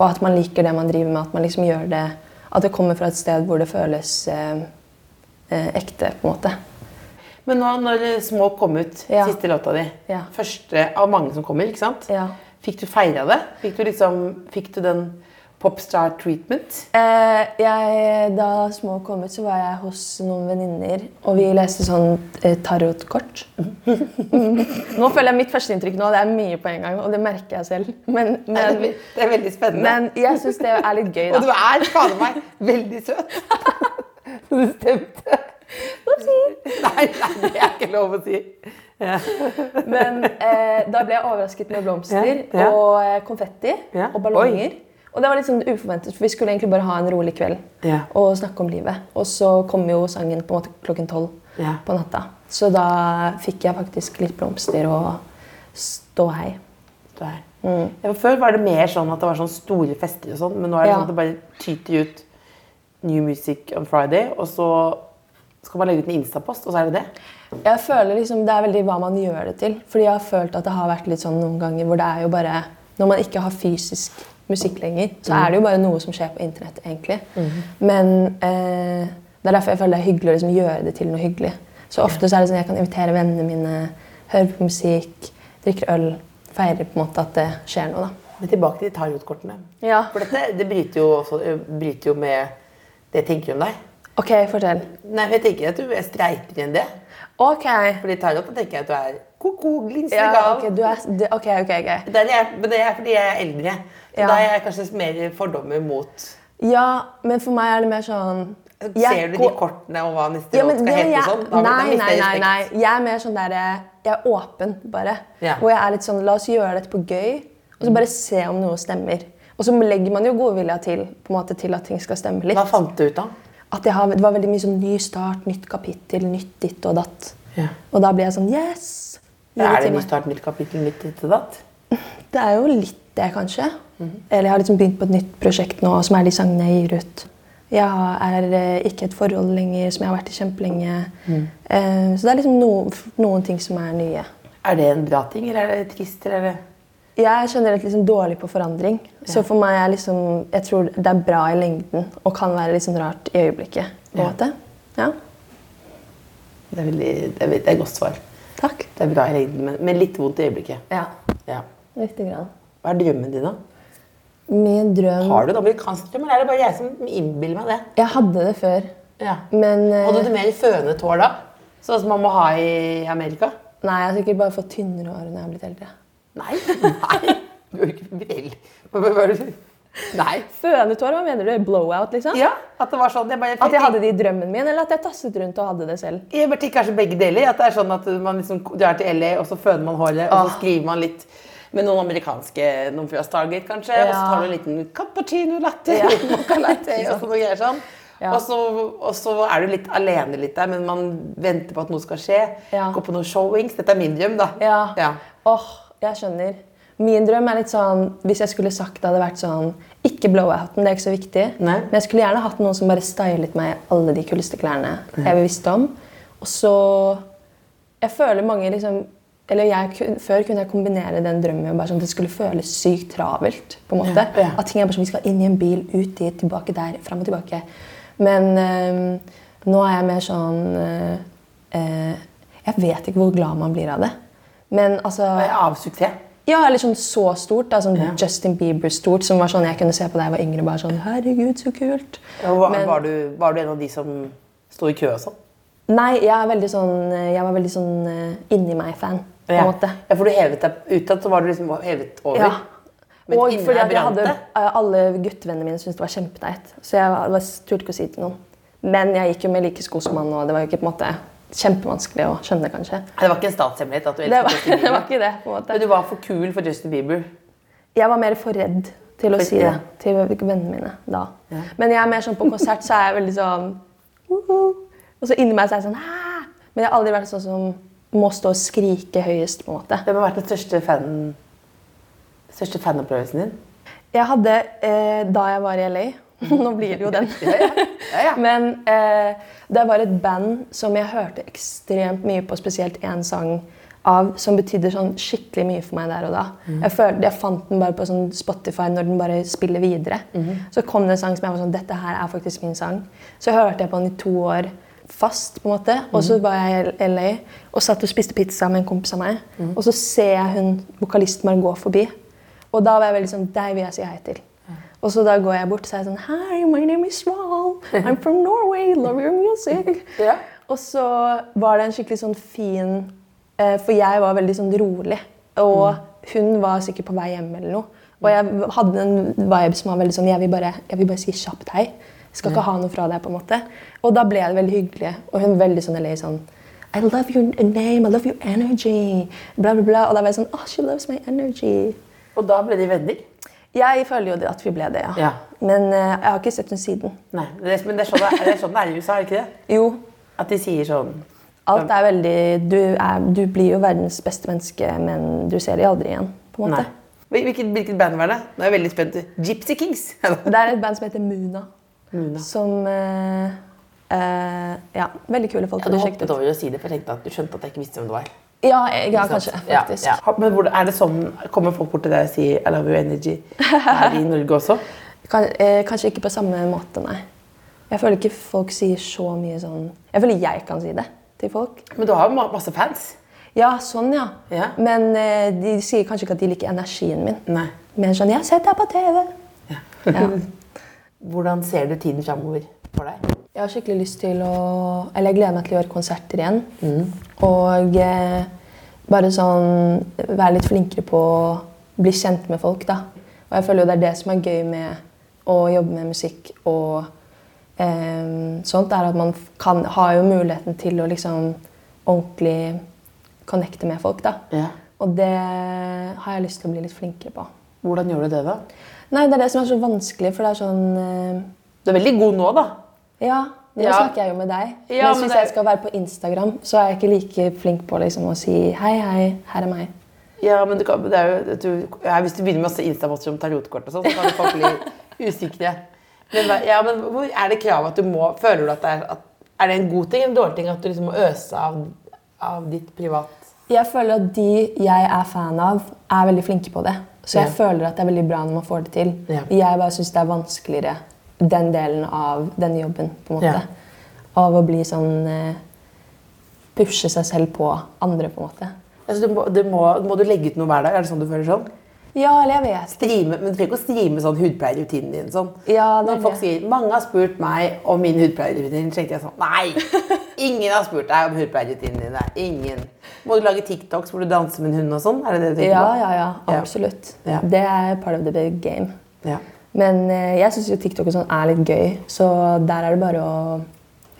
[SPEAKER 4] Og at man liker det man driver med, at man liksom gjør det At det kommer fra et sted hvor det føles eh, eh, ekte, på en måte.
[SPEAKER 3] Men nå når Små kom ut,
[SPEAKER 4] Ja.
[SPEAKER 3] siste låta di,
[SPEAKER 4] Ja.
[SPEAKER 3] første av mange som kommer, ikke sant?
[SPEAKER 4] Ja.
[SPEAKER 3] Fikk du feira det? Fikk du, liksom, fikk du den popstar treatment?
[SPEAKER 4] Eh, jeg, da Små kom ut, så var jeg hos noen venninner, og vi leste sånn eh, tarotkort. nå føler jeg mitt førsteinntrykk nå, det er mye på en gang, og det merker jeg selv. Men,
[SPEAKER 3] Det er,
[SPEAKER 4] men,
[SPEAKER 3] ve- det er veldig spennende.
[SPEAKER 4] Eh, men jeg syns det er litt gøy,
[SPEAKER 3] og du
[SPEAKER 4] da.
[SPEAKER 3] er fader meg veldig søt. Så det stemte. Nei, nei, det er ikke lov å si.
[SPEAKER 4] Men eh, da ble jeg overrasket med blomster
[SPEAKER 3] Ja, ja.
[SPEAKER 4] og eh, konfetti
[SPEAKER 3] Ja.
[SPEAKER 4] og ballonger. Og det var litt sånn uforventet, for vi skulle egentlig bare ha en rolig kveld
[SPEAKER 3] Ja.
[SPEAKER 4] og snakke om livet. Og så kom jo sangen på en måte klokken tolv
[SPEAKER 3] Ja.
[SPEAKER 4] på natta. Så da fikk jeg faktisk litt blomster og ståhei.
[SPEAKER 3] Du er.
[SPEAKER 4] Mm.
[SPEAKER 3] Ja, for før var det mer sånn at det var sånn store fester og sånn, men nå er det
[SPEAKER 4] Ja.
[SPEAKER 3] sånn at det bare tyter ut New Music on Friday, og så skal man legge ut en Insta-post, og så er det det.
[SPEAKER 4] Jeg føler liksom Det er veldig hva man gjør det til. Fordi jeg har følt at det har vært litt sånn noen ganger hvor det er jo bare Når man ikke har fysisk musikk lenger, så er det jo bare noe som skjer på internett, egentlig. Men eh, det er derfor jeg føler det er hyggelig å liksom gjøre det til noe hyggelig. Så ofte så er det sånn jeg kan invitere vennene mine, høre på musikk, drikke øl, feire på en måte at det skjer noe, da.
[SPEAKER 3] Men tilbake til tarotkortene.
[SPEAKER 4] Ja.
[SPEAKER 3] For dette det bryter, jo også, eh, bryter jo med det jeg tenker om deg.
[SPEAKER 4] OK, fortell.
[SPEAKER 3] Nei, for jeg tenker at du er streitere enn det.
[SPEAKER 4] OK.
[SPEAKER 3] Fordi tarot da tenker jeg at du er ko-ko, glinsende
[SPEAKER 4] Ja,
[SPEAKER 3] gal.
[SPEAKER 4] ok, du er, det, ok, ok, ok.
[SPEAKER 3] Det er, jeg- men det er fordi jeg er eldre. Så
[SPEAKER 4] Ja.
[SPEAKER 3] da er jeg kanskje mer fordommer mot
[SPEAKER 4] Ja, men for meg er det mer sånn
[SPEAKER 3] Ser du de
[SPEAKER 4] går-
[SPEAKER 3] kortene og hva neste
[SPEAKER 4] Ja,
[SPEAKER 3] låt
[SPEAKER 4] men
[SPEAKER 3] skal
[SPEAKER 4] det
[SPEAKER 3] hete og
[SPEAKER 4] jeg,
[SPEAKER 3] sånn? Da- da
[SPEAKER 4] nei,
[SPEAKER 3] mister
[SPEAKER 4] nei,
[SPEAKER 3] jeg
[SPEAKER 4] nei,
[SPEAKER 3] respekt.
[SPEAKER 4] nei. Jeg er mer sånn der eh, Jeg er åpen, bare.
[SPEAKER 3] Ja.
[SPEAKER 4] Hvor jeg er litt sånn La oss gjøre dette på gøy, og så bare se om noe stemmer. Og så legger man jo godvilja til på en måte til at ting skal stemme litt.
[SPEAKER 3] Hva fant du ut av?
[SPEAKER 4] At jeg har, Det var veldig mye sånn ny start, nytt kapittel, nytt ditt og datt.
[SPEAKER 3] Ja.
[SPEAKER 4] Og da blir jeg sånn Yes! Gi
[SPEAKER 3] Er det
[SPEAKER 4] til
[SPEAKER 3] ny
[SPEAKER 4] meg.
[SPEAKER 3] start, nytt kapittel, nytt ditt og datt?
[SPEAKER 4] Det er jo litt det, kanskje. Eller jeg har liksom begynt på et nytt prosjekt nå, som er de sangene jeg gir ut. Jeg er eh, ikke i et forhold lenger, som jeg har vært i kjempelenge. Eh, Så det er liksom no, noen ting som er nye.
[SPEAKER 3] Er det en bra ting, eller er det trist? Eller er det...
[SPEAKER 4] Jeg er generelt liksom dårlig på forandring. Så for meg er liksom Jeg tror det er bra i lengden og kan være liksom rart i øyeblikket. På en
[SPEAKER 3] Ja.
[SPEAKER 4] måte. Ja.
[SPEAKER 3] Det er, veldig, det, er, det er godt svar.
[SPEAKER 4] Takk.
[SPEAKER 3] Det er bra i lengden, men, men litt vondt i øyeblikket.
[SPEAKER 4] Ja.
[SPEAKER 3] Ja.
[SPEAKER 4] Riktig grann.
[SPEAKER 3] Hva er drømmen din, da?
[SPEAKER 4] Min drøm
[SPEAKER 3] Har du en amerikansk drøm, eller er det bare jeg som innbiller meg det?
[SPEAKER 4] Jeg hadde det før,
[SPEAKER 3] Ja.
[SPEAKER 4] men eh,
[SPEAKER 3] Hadde du mer fønet hår da? Sånn som man må ha i Amerika?
[SPEAKER 4] Nei, jeg har sikkert bare fått tynnere hår når jeg har blitt eldre.
[SPEAKER 3] Nei. Nei. Du er ikke vel. Hva- hva- hva er det du- Nei.
[SPEAKER 4] Fønet hår? Hva mener du? Blowout, liksom?
[SPEAKER 3] Ja, at det var sånn. Jeg bare,
[SPEAKER 4] At jeg hadde det i drømmen min, eller at jeg tasset rundt og hadde det selv?
[SPEAKER 3] Jeg bare tenker kanskje begge deler. At det er sånn at man liksom drar til LA, og så føner man håret, og så skriver man litt med noen amerikanske noen fra Stargate, kanskje. Og så
[SPEAKER 4] Ja.
[SPEAKER 3] tar du en liten cappuccino latte,
[SPEAKER 4] Ja.
[SPEAKER 3] mocha latte, og så noe greier sånn.
[SPEAKER 4] Ja.
[SPEAKER 3] Og, så, og så er du litt alene litt der, men man venter på at noe skal skje.
[SPEAKER 4] Ja.
[SPEAKER 3] Gå på noen showings. Dette er min drøm, da.
[SPEAKER 4] Ja.
[SPEAKER 3] Ja.
[SPEAKER 4] Åh, jeg skjønner. Min drøm er litt sånn Hvis jeg skulle sagt det hadde vært sånn Ikke blowouten, det er ikke så viktig.
[SPEAKER 3] Nei.
[SPEAKER 4] Men jeg skulle gjerne hatt noen som bare stylet meg i alle de kuleste klærne jeg visste om. Og så Jeg føler mange liksom eller jeg, kun- Før kunne jeg kombinere den drømmen med bare sånn at det skulle føles sykt travelt. på en måte.
[SPEAKER 3] Ja, ja.
[SPEAKER 4] At ting er bare sånn, Vi skal inn i en bil, ut dit, tilbake der, fram og tilbake. Men øhm, nå er jeg mer sånn øh, øh, Jeg vet ikke hvor glad man blir av det. Men altså
[SPEAKER 3] Av suksess.
[SPEAKER 4] ja, eller sånn så stort. Da, sånn
[SPEAKER 3] Ja.
[SPEAKER 4] Justin Bieber-stort. Som var sånn jeg kunne se på da jeg var yngre. bare sånn, herregud, så kult.
[SPEAKER 3] Og var,
[SPEAKER 4] Men-
[SPEAKER 3] var, du, var du en av de som sto i kø og sånn?
[SPEAKER 4] Nei, jeg, er veldig sånn, eh, jeg var veldig sånn eh, inni meg-fan. på en måte.
[SPEAKER 3] Ja, for du hevet deg utad, så var du liksom hevet over.
[SPEAKER 4] Ja.
[SPEAKER 3] Men
[SPEAKER 4] og
[SPEAKER 3] inni
[SPEAKER 4] fordi
[SPEAKER 3] deg
[SPEAKER 4] at jeg
[SPEAKER 3] brant
[SPEAKER 4] hadde,
[SPEAKER 3] det.
[SPEAKER 4] eh, alle guttevennene mine syntes det var kjempeteit. Så jeg var, var, turte ikke å si det til noen. Men jeg gikk jo med like sko som han, og det var jo ikke på en måte kjempevanskelig å skjønne, kanskje.
[SPEAKER 3] Det var ikke en statshemmelighet at du
[SPEAKER 4] Det
[SPEAKER 3] elsket
[SPEAKER 4] var,
[SPEAKER 3] Justin
[SPEAKER 4] det
[SPEAKER 3] Bieber.
[SPEAKER 4] var ikke det, på en måte.
[SPEAKER 3] Men du var for kul for Justin Bieber.
[SPEAKER 4] Jeg var mer for redd til å
[SPEAKER 3] For-
[SPEAKER 4] si det
[SPEAKER 3] ja.
[SPEAKER 4] til vennene mine da. Men jeg er mer sånn på konsert så er jeg veldig sånn «Woho!» Og så inni meg så er jeg sånn «Hæ?» Men jeg har aldri vært sånn som må stå og skrike høyest, på en måte.
[SPEAKER 3] Hvem har vært den største, fan, største fanopplevelsen din?
[SPEAKER 4] Jeg hadde eh, da jeg var i LA Nå blir det jo den.
[SPEAKER 3] Ja, ja.
[SPEAKER 4] Men eh, det var et band som jeg hørte ekstremt mye på, spesielt én sang av, som betydde sånn skikkelig mye for meg der og da.
[SPEAKER 3] Mhm.
[SPEAKER 4] Jeg, følte, jeg fant den bare på sånn Spotify når den bare spiller videre.
[SPEAKER 3] Mhm.
[SPEAKER 4] Så kom det en sang som jeg var sånn Dette her er faktisk min sang. Så hørte jeg på den i to år fast, på en måte. Og
[SPEAKER 3] Mhm.
[SPEAKER 4] så var jeg i LA og satt og spiste pizza med en kompis av meg.
[SPEAKER 3] Mhm.
[SPEAKER 4] Og så ser jeg hun vokalisten Margot forbi. Og da var jeg veldig sånn Deg vil jeg si hei til. Og så da går jeg bort og sier jeg sånn Hi, my name is Val. I'm from Norway. Love your music.
[SPEAKER 3] Ja.
[SPEAKER 4] Og så var det en skikkelig sånn fin eh, For jeg var veldig sånn rolig. Og hun var sikkert på vei hjem eller noe. Og jeg hadde en vibe som var veldig sånn Jeg vil bare, jeg vil bare si kjapt hei. Skal ikke ha noe fra deg, på en måte. Og da ble det veldig hyggelig. Og hun veldig sånn eller sånn I love your name, I love your energy. Bla, bla, bla. Og da var jeg sånn Oh, she loves my energy.
[SPEAKER 3] Og da ble de venner?
[SPEAKER 4] Jeg føler jo det at vi ble det, ja.
[SPEAKER 3] Ja.
[SPEAKER 4] Men eh, jeg har ikke sett henne siden.
[SPEAKER 3] Nei, det er, men det er, sånn det, er, det er sånn det er i USA, er det ikke det?
[SPEAKER 4] Jo,
[SPEAKER 3] At de sier sånn
[SPEAKER 4] alt er veldig Du, er, du blir jo verdens beste menneske, men du ser de aldri igjen. på en
[SPEAKER 3] Nei.
[SPEAKER 4] måte.
[SPEAKER 3] Hvil- Hvilket, hvilket band var det? Nå er jeg veldig spent. Gypsy Kings.
[SPEAKER 4] Det er et band som heter Muna.
[SPEAKER 3] Muna.
[SPEAKER 4] Som eh, eh, Ja, veldig kule folk.
[SPEAKER 3] Du
[SPEAKER 4] Sjekk
[SPEAKER 3] hoppet
[SPEAKER 4] det ut.
[SPEAKER 3] over å si det, for jeg tenkte at du skjønte at jeg ikke visste hvem det var.
[SPEAKER 4] Ja, eh, ja, kanskje. faktisk.
[SPEAKER 3] Ja, ja. Men hvor, er det sånn, Kommer folk bort til deg og sier 'I love your energy' her i Norge også?
[SPEAKER 4] Kan, eh, kanskje ikke på samme måte, nei. Jeg føler ikke folk sier så mye sånn Jeg føler jeg kan si det til folk.
[SPEAKER 3] Men du har jo ma- masse fans.
[SPEAKER 4] Ja, sånn, ja.
[SPEAKER 3] Ja.
[SPEAKER 4] Men eh, de sier kanskje ikke at de liker energien min.
[SPEAKER 3] Nei.
[SPEAKER 4] Mer sånn 'Jeg har sett deg på TV'. Ja.
[SPEAKER 3] Hvordan ser du tiden framover for deg?
[SPEAKER 4] Jeg har skikkelig lyst til å Eller jeg gleder meg til å gjøre konserter igjen. Og eh, bare sånn være litt flinkere på å bli kjent med folk, da. Og jeg føler jo det er det som er gøy med å jobbe med musikk og eh, sånt, er at man f- kan, har jo muligheten til å liksom ordentlig connecte med folk, da.
[SPEAKER 3] Ja.
[SPEAKER 4] Og det har jeg lyst til å bli litt flinkere på.
[SPEAKER 3] Hvordan gjør du det, da?
[SPEAKER 4] Nei, det er det som er så vanskelig, for det er sånn eh,
[SPEAKER 3] Du er veldig god nå, da.
[SPEAKER 4] ja, nå
[SPEAKER 3] Ja.
[SPEAKER 4] snakker jeg jo med deg.
[SPEAKER 3] Ja, men
[SPEAKER 4] men hvis
[SPEAKER 3] det er-
[SPEAKER 4] jeg skal være på Instagram, så er jeg ikke like flink på liksom, å si hei, hei, her er meg.
[SPEAKER 3] Ja, men du kan, det er jo, du, ja, Hvis du begynner med masse Insta-poster om tarotkort, og sånn, så kan folk bli usikre. Men, hva- ja, men hvor er det krav at du må Føler du at det er at, Er det en god ting eller en dårlig ting at du liksom må øse av, av ditt privat
[SPEAKER 4] Jeg føler at de jeg er fan av, er veldig flinke på det. Så jeg
[SPEAKER 3] Ja.
[SPEAKER 4] føler at det er veldig bra når man får det til.
[SPEAKER 3] Ja.
[SPEAKER 4] Jeg bare syns det er vanskeligere, den delen av den jobben, på en måte.
[SPEAKER 3] Ja.
[SPEAKER 4] Av å bli sånn eh, Pushe seg selv på andre, på en måte.
[SPEAKER 3] altså, du må, du må, må du legge ut noe hver dag? Er det sånn du føler sånn?
[SPEAKER 4] Ja, eller jeg vet
[SPEAKER 3] Streame, men Du trenger ikke å streame sånn hudpleierrutinen din. sånn.
[SPEAKER 4] Ja, det er
[SPEAKER 3] Når folk
[SPEAKER 4] det.
[SPEAKER 3] sier 'mange har spurt meg om min hudpleierrutine', så tenkte jeg sånn Nei! Ingen har spurt deg om hudpleierrutinene dine. Ingen. Må du lage TikToks hvor du danser med en hund og sånn? Er det det du tenker
[SPEAKER 4] Ja,
[SPEAKER 3] på?
[SPEAKER 4] ja, ja.
[SPEAKER 3] Ja.
[SPEAKER 4] Absolutt.
[SPEAKER 3] Ja.
[SPEAKER 4] Det er part of the big game.
[SPEAKER 3] Ja.
[SPEAKER 4] Men eh, jeg syns jo TikTok og sånn er litt gøy, så der er det bare å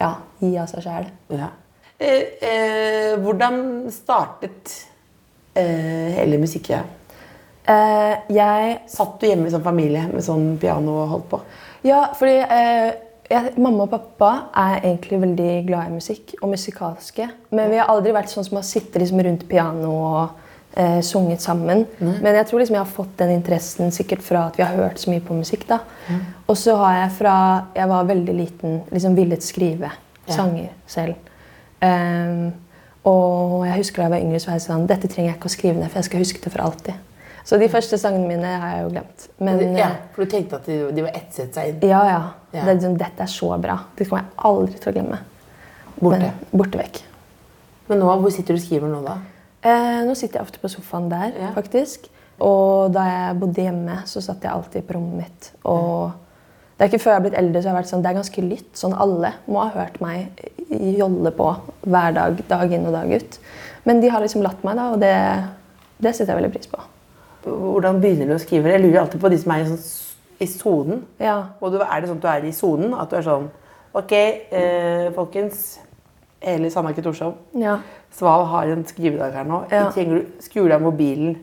[SPEAKER 4] ja, gi av seg sjæl.
[SPEAKER 3] Ja. Eh, eh, hvordan startet eh, hele musikkgreia?
[SPEAKER 4] Eh, jeg
[SPEAKER 3] Satt du hjemme i sånn familie med sånn piano og holdt på?
[SPEAKER 4] Ja, fordi eh, jeg, mamma og pappa er egentlig veldig glad i musikk og musikalske. Men vi har aldri vært sånn som har sittet liksom rundt piano og eh, sunget sammen. Men jeg tror liksom jeg har fått den interessen sikkert fra at vi har hørt så mye på musikk. da. Og så har jeg fra jeg var veldig liten, liksom villet skrive sanger selv. Ehm, og jeg husker da jeg var yngre, så var jeg sånn Dette trenger jeg ikke å skrive ned, for jeg skal huske det for alltid. Så de første sangene mine har jeg jo glemt. Men,
[SPEAKER 3] ja,
[SPEAKER 4] eh,
[SPEAKER 3] for du tenkte at de, de var etset seg inn?
[SPEAKER 4] ja, ja.
[SPEAKER 3] Ja.
[SPEAKER 4] Det er liksom, dette er så bra. Det kommer jeg aldri til å glemme.
[SPEAKER 3] Borte.
[SPEAKER 4] Men, borte vekk.
[SPEAKER 3] Men nå, hvor sitter du og skriver nå, da?
[SPEAKER 4] Eh, nå sitter jeg ofte på sofaen der,
[SPEAKER 3] Ja.
[SPEAKER 4] faktisk. Og da jeg bodde hjemme, så satt jeg alltid på rommet mitt. Og det er ikke før jeg har blitt eldre, så har jeg vært sånn, det er ganske lytt. Sånn alle må ha hørt meg jolle på hver dag, dag inn og dag ut. Men de har liksom latt meg, da, og det, det setter jeg veldig pris på.
[SPEAKER 3] Hvordan begynner du å skrive? Jeg lurer alltid på de som er i, sånn, s- i sonen.
[SPEAKER 4] Ja.
[SPEAKER 3] Og du, er det sånn at du er i sonen? At du er sånn Ok, eh, folkens. Eli Sandaker Torshov.
[SPEAKER 4] ja.
[SPEAKER 3] Sval har en skrivedag her nå.
[SPEAKER 4] Ja.
[SPEAKER 3] Trenger du skru av mobilen?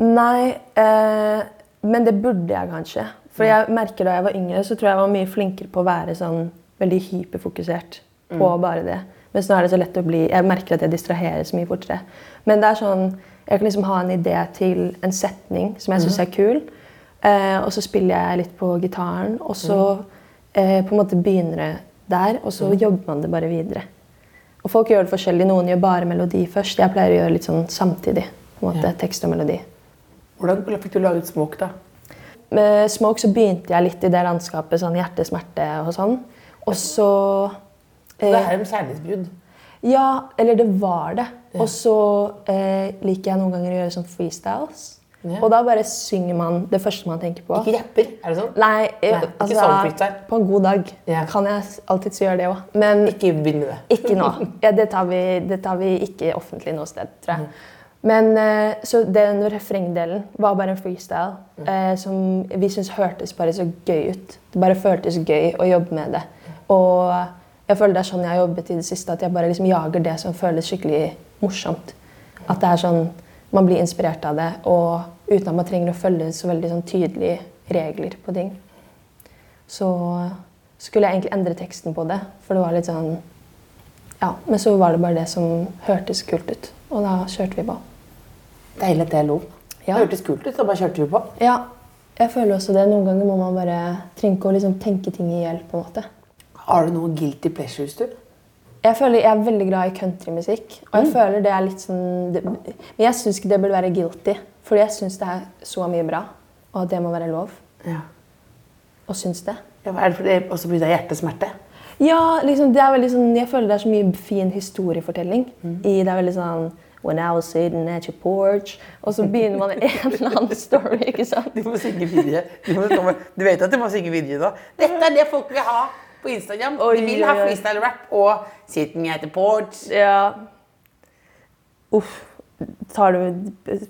[SPEAKER 4] Nei, eh, men det burde jeg kanskje. For jeg merker da jeg var yngre, så tror jeg jeg var mye flinkere på å være sånn veldig hyperfokusert på bare det. Mens nå er det så lett å bli Jeg merker at jeg distraheres mye fortere. Men det er sånn Jeg kan liksom ha en idé til en setning som jeg syns er kul. Eh, og så spiller jeg litt på gitaren, og så eh, på en måte begynner det der. Og så jobber man det bare videre. Og folk gjør det forskjellig. Noen gjør bare melodi først. Jeg pleier å gjøre litt sånn samtidig. på en måte, Tekst og melodi.
[SPEAKER 3] Hvordan fikk du laget smoke, da?
[SPEAKER 4] Med Smoke så begynte jeg litt i det landskapet, sånn hjertesmerte og sånn. Og så
[SPEAKER 3] Det
[SPEAKER 4] eh,
[SPEAKER 3] er om kjærlighetsbrudd.
[SPEAKER 4] Ja, eller det var det. Og så eh, liker jeg noen ganger å gjøre sånn freestyles.
[SPEAKER 3] Ja.
[SPEAKER 4] Og da bare synger man det første man tenker på.
[SPEAKER 3] Ikke rapper, er det sånn?
[SPEAKER 4] Nei, eh,
[SPEAKER 3] Nei, ikke
[SPEAKER 4] altså,
[SPEAKER 3] sånn freestyle.
[SPEAKER 4] På en god dag
[SPEAKER 3] Ja.
[SPEAKER 4] kan jeg s- alltids gjøre det òg. Men
[SPEAKER 3] Ikke begynn med det.
[SPEAKER 4] ikke nå. Ja, det, tar vi, det tar vi ikke offentlig noe sted, tror jeg. Men eh, så den refrengdelen var bare en freestyle eh, som vi syntes hørtes bare så gøy ut. Det bare føltes gøy å jobbe med det. Og jeg føler det er sånn jeg har jobbet i det siste, at jeg bare liksom jager det som føles skikkelig morsomt. At det er sånn man blir inspirert av det, og uten at man trenger å følge så veldig sånn tydelige regler på ting så skulle jeg egentlig endre teksten på det. For det var litt sånn Ja. Men så var det bare det som hørtes kult ut. Og da kjørte vi på.
[SPEAKER 3] Deilig at det er lov.
[SPEAKER 4] Ja.
[SPEAKER 3] Det hørtes kult ut, så bare kjørte vi på.
[SPEAKER 4] Ja. Jeg føler også det. Noen ganger må man bare trenger ikke å liksom tenke ting i hjel. på en måte.
[SPEAKER 3] Har du noen guilty pleasures, du?
[SPEAKER 4] Jeg føler jeg er veldig glad i countrymusikk. Og jeg føler det er litt sånn det, Men jeg syns ikke det burde være guilty. Fordi jeg syns det er så mye bra. Og at det må være lov
[SPEAKER 3] Ja.
[SPEAKER 4] å synes det.
[SPEAKER 3] Ja, er det fordi det også blir det hjertesmerte?
[SPEAKER 4] Ja, liksom, det er veldig sånn, jeg føler det er så mye fin historiefortelling. I, det er veldig sånn When I was sitting at your porch Og så begynner man en eller annen story, ikke sant?
[SPEAKER 3] Du må synge videre. Du, må stå med- du vet at du må synge videre nå. Dette er det folk vil ha på Instagram.
[SPEAKER 4] Oi,
[SPEAKER 3] De vil ha
[SPEAKER 4] oi, oi.
[SPEAKER 3] freestyle-rap og 'Sitting at the porch'.
[SPEAKER 4] Ja. Uff. Tar du,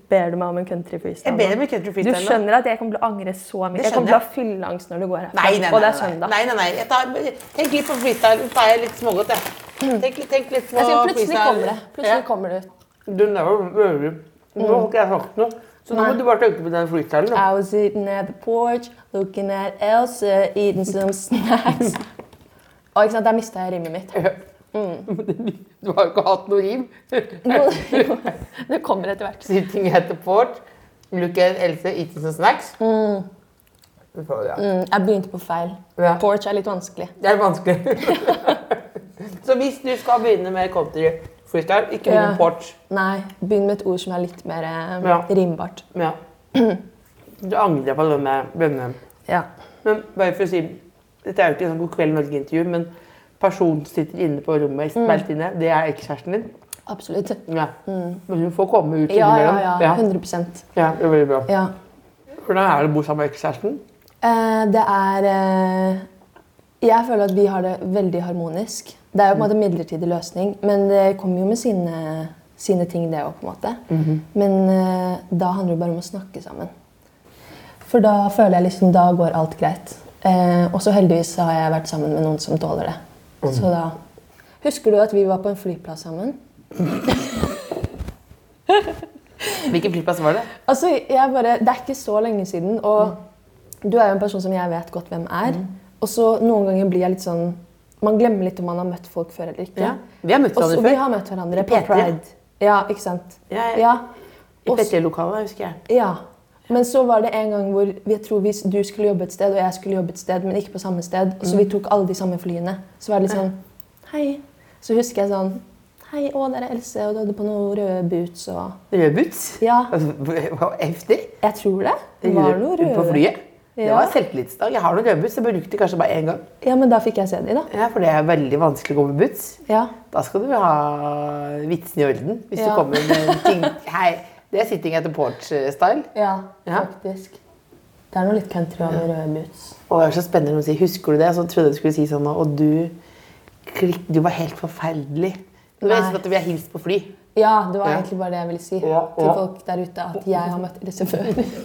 [SPEAKER 4] ber du meg om en country
[SPEAKER 3] Jeg
[SPEAKER 4] freestyle?
[SPEAKER 3] ber om en country
[SPEAKER 4] Du
[SPEAKER 3] freestyle nå.
[SPEAKER 4] skjønner at jeg kommer til å angre så mye?
[SPEAKER 3] Det
[SPEAKER 4] Jeg kommer til å
[SPEAKER 3] skjønner
[SPEAKER 4] ha fylleangst når du går herfra.
[SPEAKER 3] Nei, nei, nei.
[SPEAKER 4] og det er
[SPEAKER 3] nei, nei.
[SPEAKER 4] søndag.
[SPEAKER 3] nei, nei, nei. Jeg tar, tenk litt på freestyle. Så tar jeg litt smågodt, jeg. Tenk, litt- tenk litt på
[SPEAKER 4] Jeg sier, plutselig
[SPEAKER 3] freestyle.
[SPEAKER 4] kommer det. Plutselig kommer det ut.
[SPEAKER 3] Du never worry. Nå har ikke jeg sagt noe. Så nå må du bare tenke på den freestylen. da.
[SPEAKER 4] I was sitting at the porch, looking at Elsa, eating some snacks. Å, ikke sant, Der mista jeg rimmet mitt.
[SPEAKER 3] Du har jo ikke hatt noe rim.
[SPEAKER 4] Jo, det kommer etter hvert.
[SPEAKER 3] Sitting at the port. Look at Else eating some snacks. Fy faen, ja.
[SPEAKER 4] Mm, Jeg begynte på feil.
[SPEAKER 3] Ja.
[SPEAKER 4] Porch er litt vanskelig.
[SPEAKER 3] Det er vanskelig. Så hvis du skal begynne med country freestyle, ikke begynn
[SPEAKER 4] Ja.
[SPEAKER 3] med port.
[SPEAKER 4] Nei, begynn med et ord som er litt mer eh,
[SPEAKER 3] Ja.
[SPEAKER 4] rimbart.
[SPEAKER 3] Ja. Du angrer på det med bønne.
[SPEAKER 4] Ja.
[SPEAKER 3] Men bare for å si, dette er jo ikke sånn God kveld Norge-intervju, men personen som sitter inne på rommet,
[SPEAKER 4] Mm.
[SPEAKER 3] smelt inne, det er ekskjæresten din.
[SPEAKER 4] Absolutt.
[SPEAKER 3] Ja. Men hun får komme ut
[SPEAKER 4] Mm. Ja, ja,
[SPEAKER 3] innimellom.
[SPEAKER 4] ja.
[SPEAKER 3] ja.
[SPEAKER 4] 100
[SPEAKER 3] ja, det er veldig bra.
[SPEAKER 4] Ja.
[SPEAKER 3] Hvordan er det å bo sammen med ekskjæresten?
[SPEAKER 4] Eh, Det er eh, Jeg føler at vi har det veldig harmonisk. Det er jo på en måte en midlertidig løsning, men det kommer jo med sine, sine ting, det òg, på en måte. Men eh, da handler det bare om å snakke sammen. For da føler jeg liksom Da går alt greit. Eh, og så heldigvis har jeg vært sammen med noen som tåler det. Så da Husker du at vi var på en flyplass sammen?
[SPEAKER 3] Hvilken flyplass var det?
[SPEAKER 4] Altså, jeg bare, Det er ikke så lenge siden, og
[SPEAKER 3] Mm.
[SPEAKER 4] du er jo en person som jeg vet godt hvem er. Og så noen ganger blir jeg litt sånn Man glemmer litt om man har møtt folk før eller ikke.
[SPEAKER 3] Ja, vi har møtt
[SPEAKER 4] Også-
[SPEAKER 3] hverandre før.
[SPEAKER 4] Vi har møtt hverandre på
[SPEAKER 3] P3.
[SPEAKER 4] Pride. Ja, ikke sant?
[SPEAKER 3] Ja, ja. I
[SPEAKER 4] Og så-
[SPEAKER 3] PT-lokalet, husker jeg.
[SPEAKER 4] ja. Men så var det en gang hvor vi- jeg tror vi, du skulle jobbe et sted, og jeg skulle jobbe et sted, men ikke på samme sted. Og
[SPEAKER 3] Mm.
[SPEAKER 4] så vi tok alle de samme flyene. Så var det litt sånn Hei. Så husker jeg sånn Hei, å, der er Else, og du hadde på noen røde boots og
[SPEAKER 3] Rød boots?
[SPEAKER 4] Ja.
[SPEAKER 3] Heftig.
[SPEAKER 4] Jeg tror det. Det var noe røde.
[SPEAKER 3] På flyet. Det
[SPEAKER 4] Ja.
[SPEAKER 3] var selvtillitsdag. Jeg har noen røde boots, jeg brukte kanskje bare én gang.
[SPEAKER 4] Ja, men da fikk jeg se de, da.
[SPEAKER 3] Ja, For det er veldig vanskelig å gå med boots.
[SPEAKER 4] Ja.
[SPEAKER 3] Da skal du ha vitsen i orden. Hvis
[SPEAKER 4] Ja.
[SPEAKER 3] du kommer med ting Hei, det er sitting at the porch-style.
[SPEAKER 4] ja,
[SPEAKER 3] Ja.
[SPEAKER 4] faktisk. Det er noe litt country over røde boots.
[SPEAKER 3] Og det er så spennende når hun sier 'husker du det?' Så trodde jeg du skulle si sånn Og du klikk, Du var helt forferdelig. Du
[SPEAKER 4] Nei.
[SPEAKER 3] vet sånn at vi har hilst på fly.
[SPEAKER 4] Ja, det var
[SPEAKER 3] Ja.
[SPEAKER 4] egentlig bare det jeg ville si
[SPEAKER 3] Ja,
[SPEAKER 4] til
[SPEAKER 3] ja.
[SPEAKER 4] folk der ute, at jeg har møtt disse før.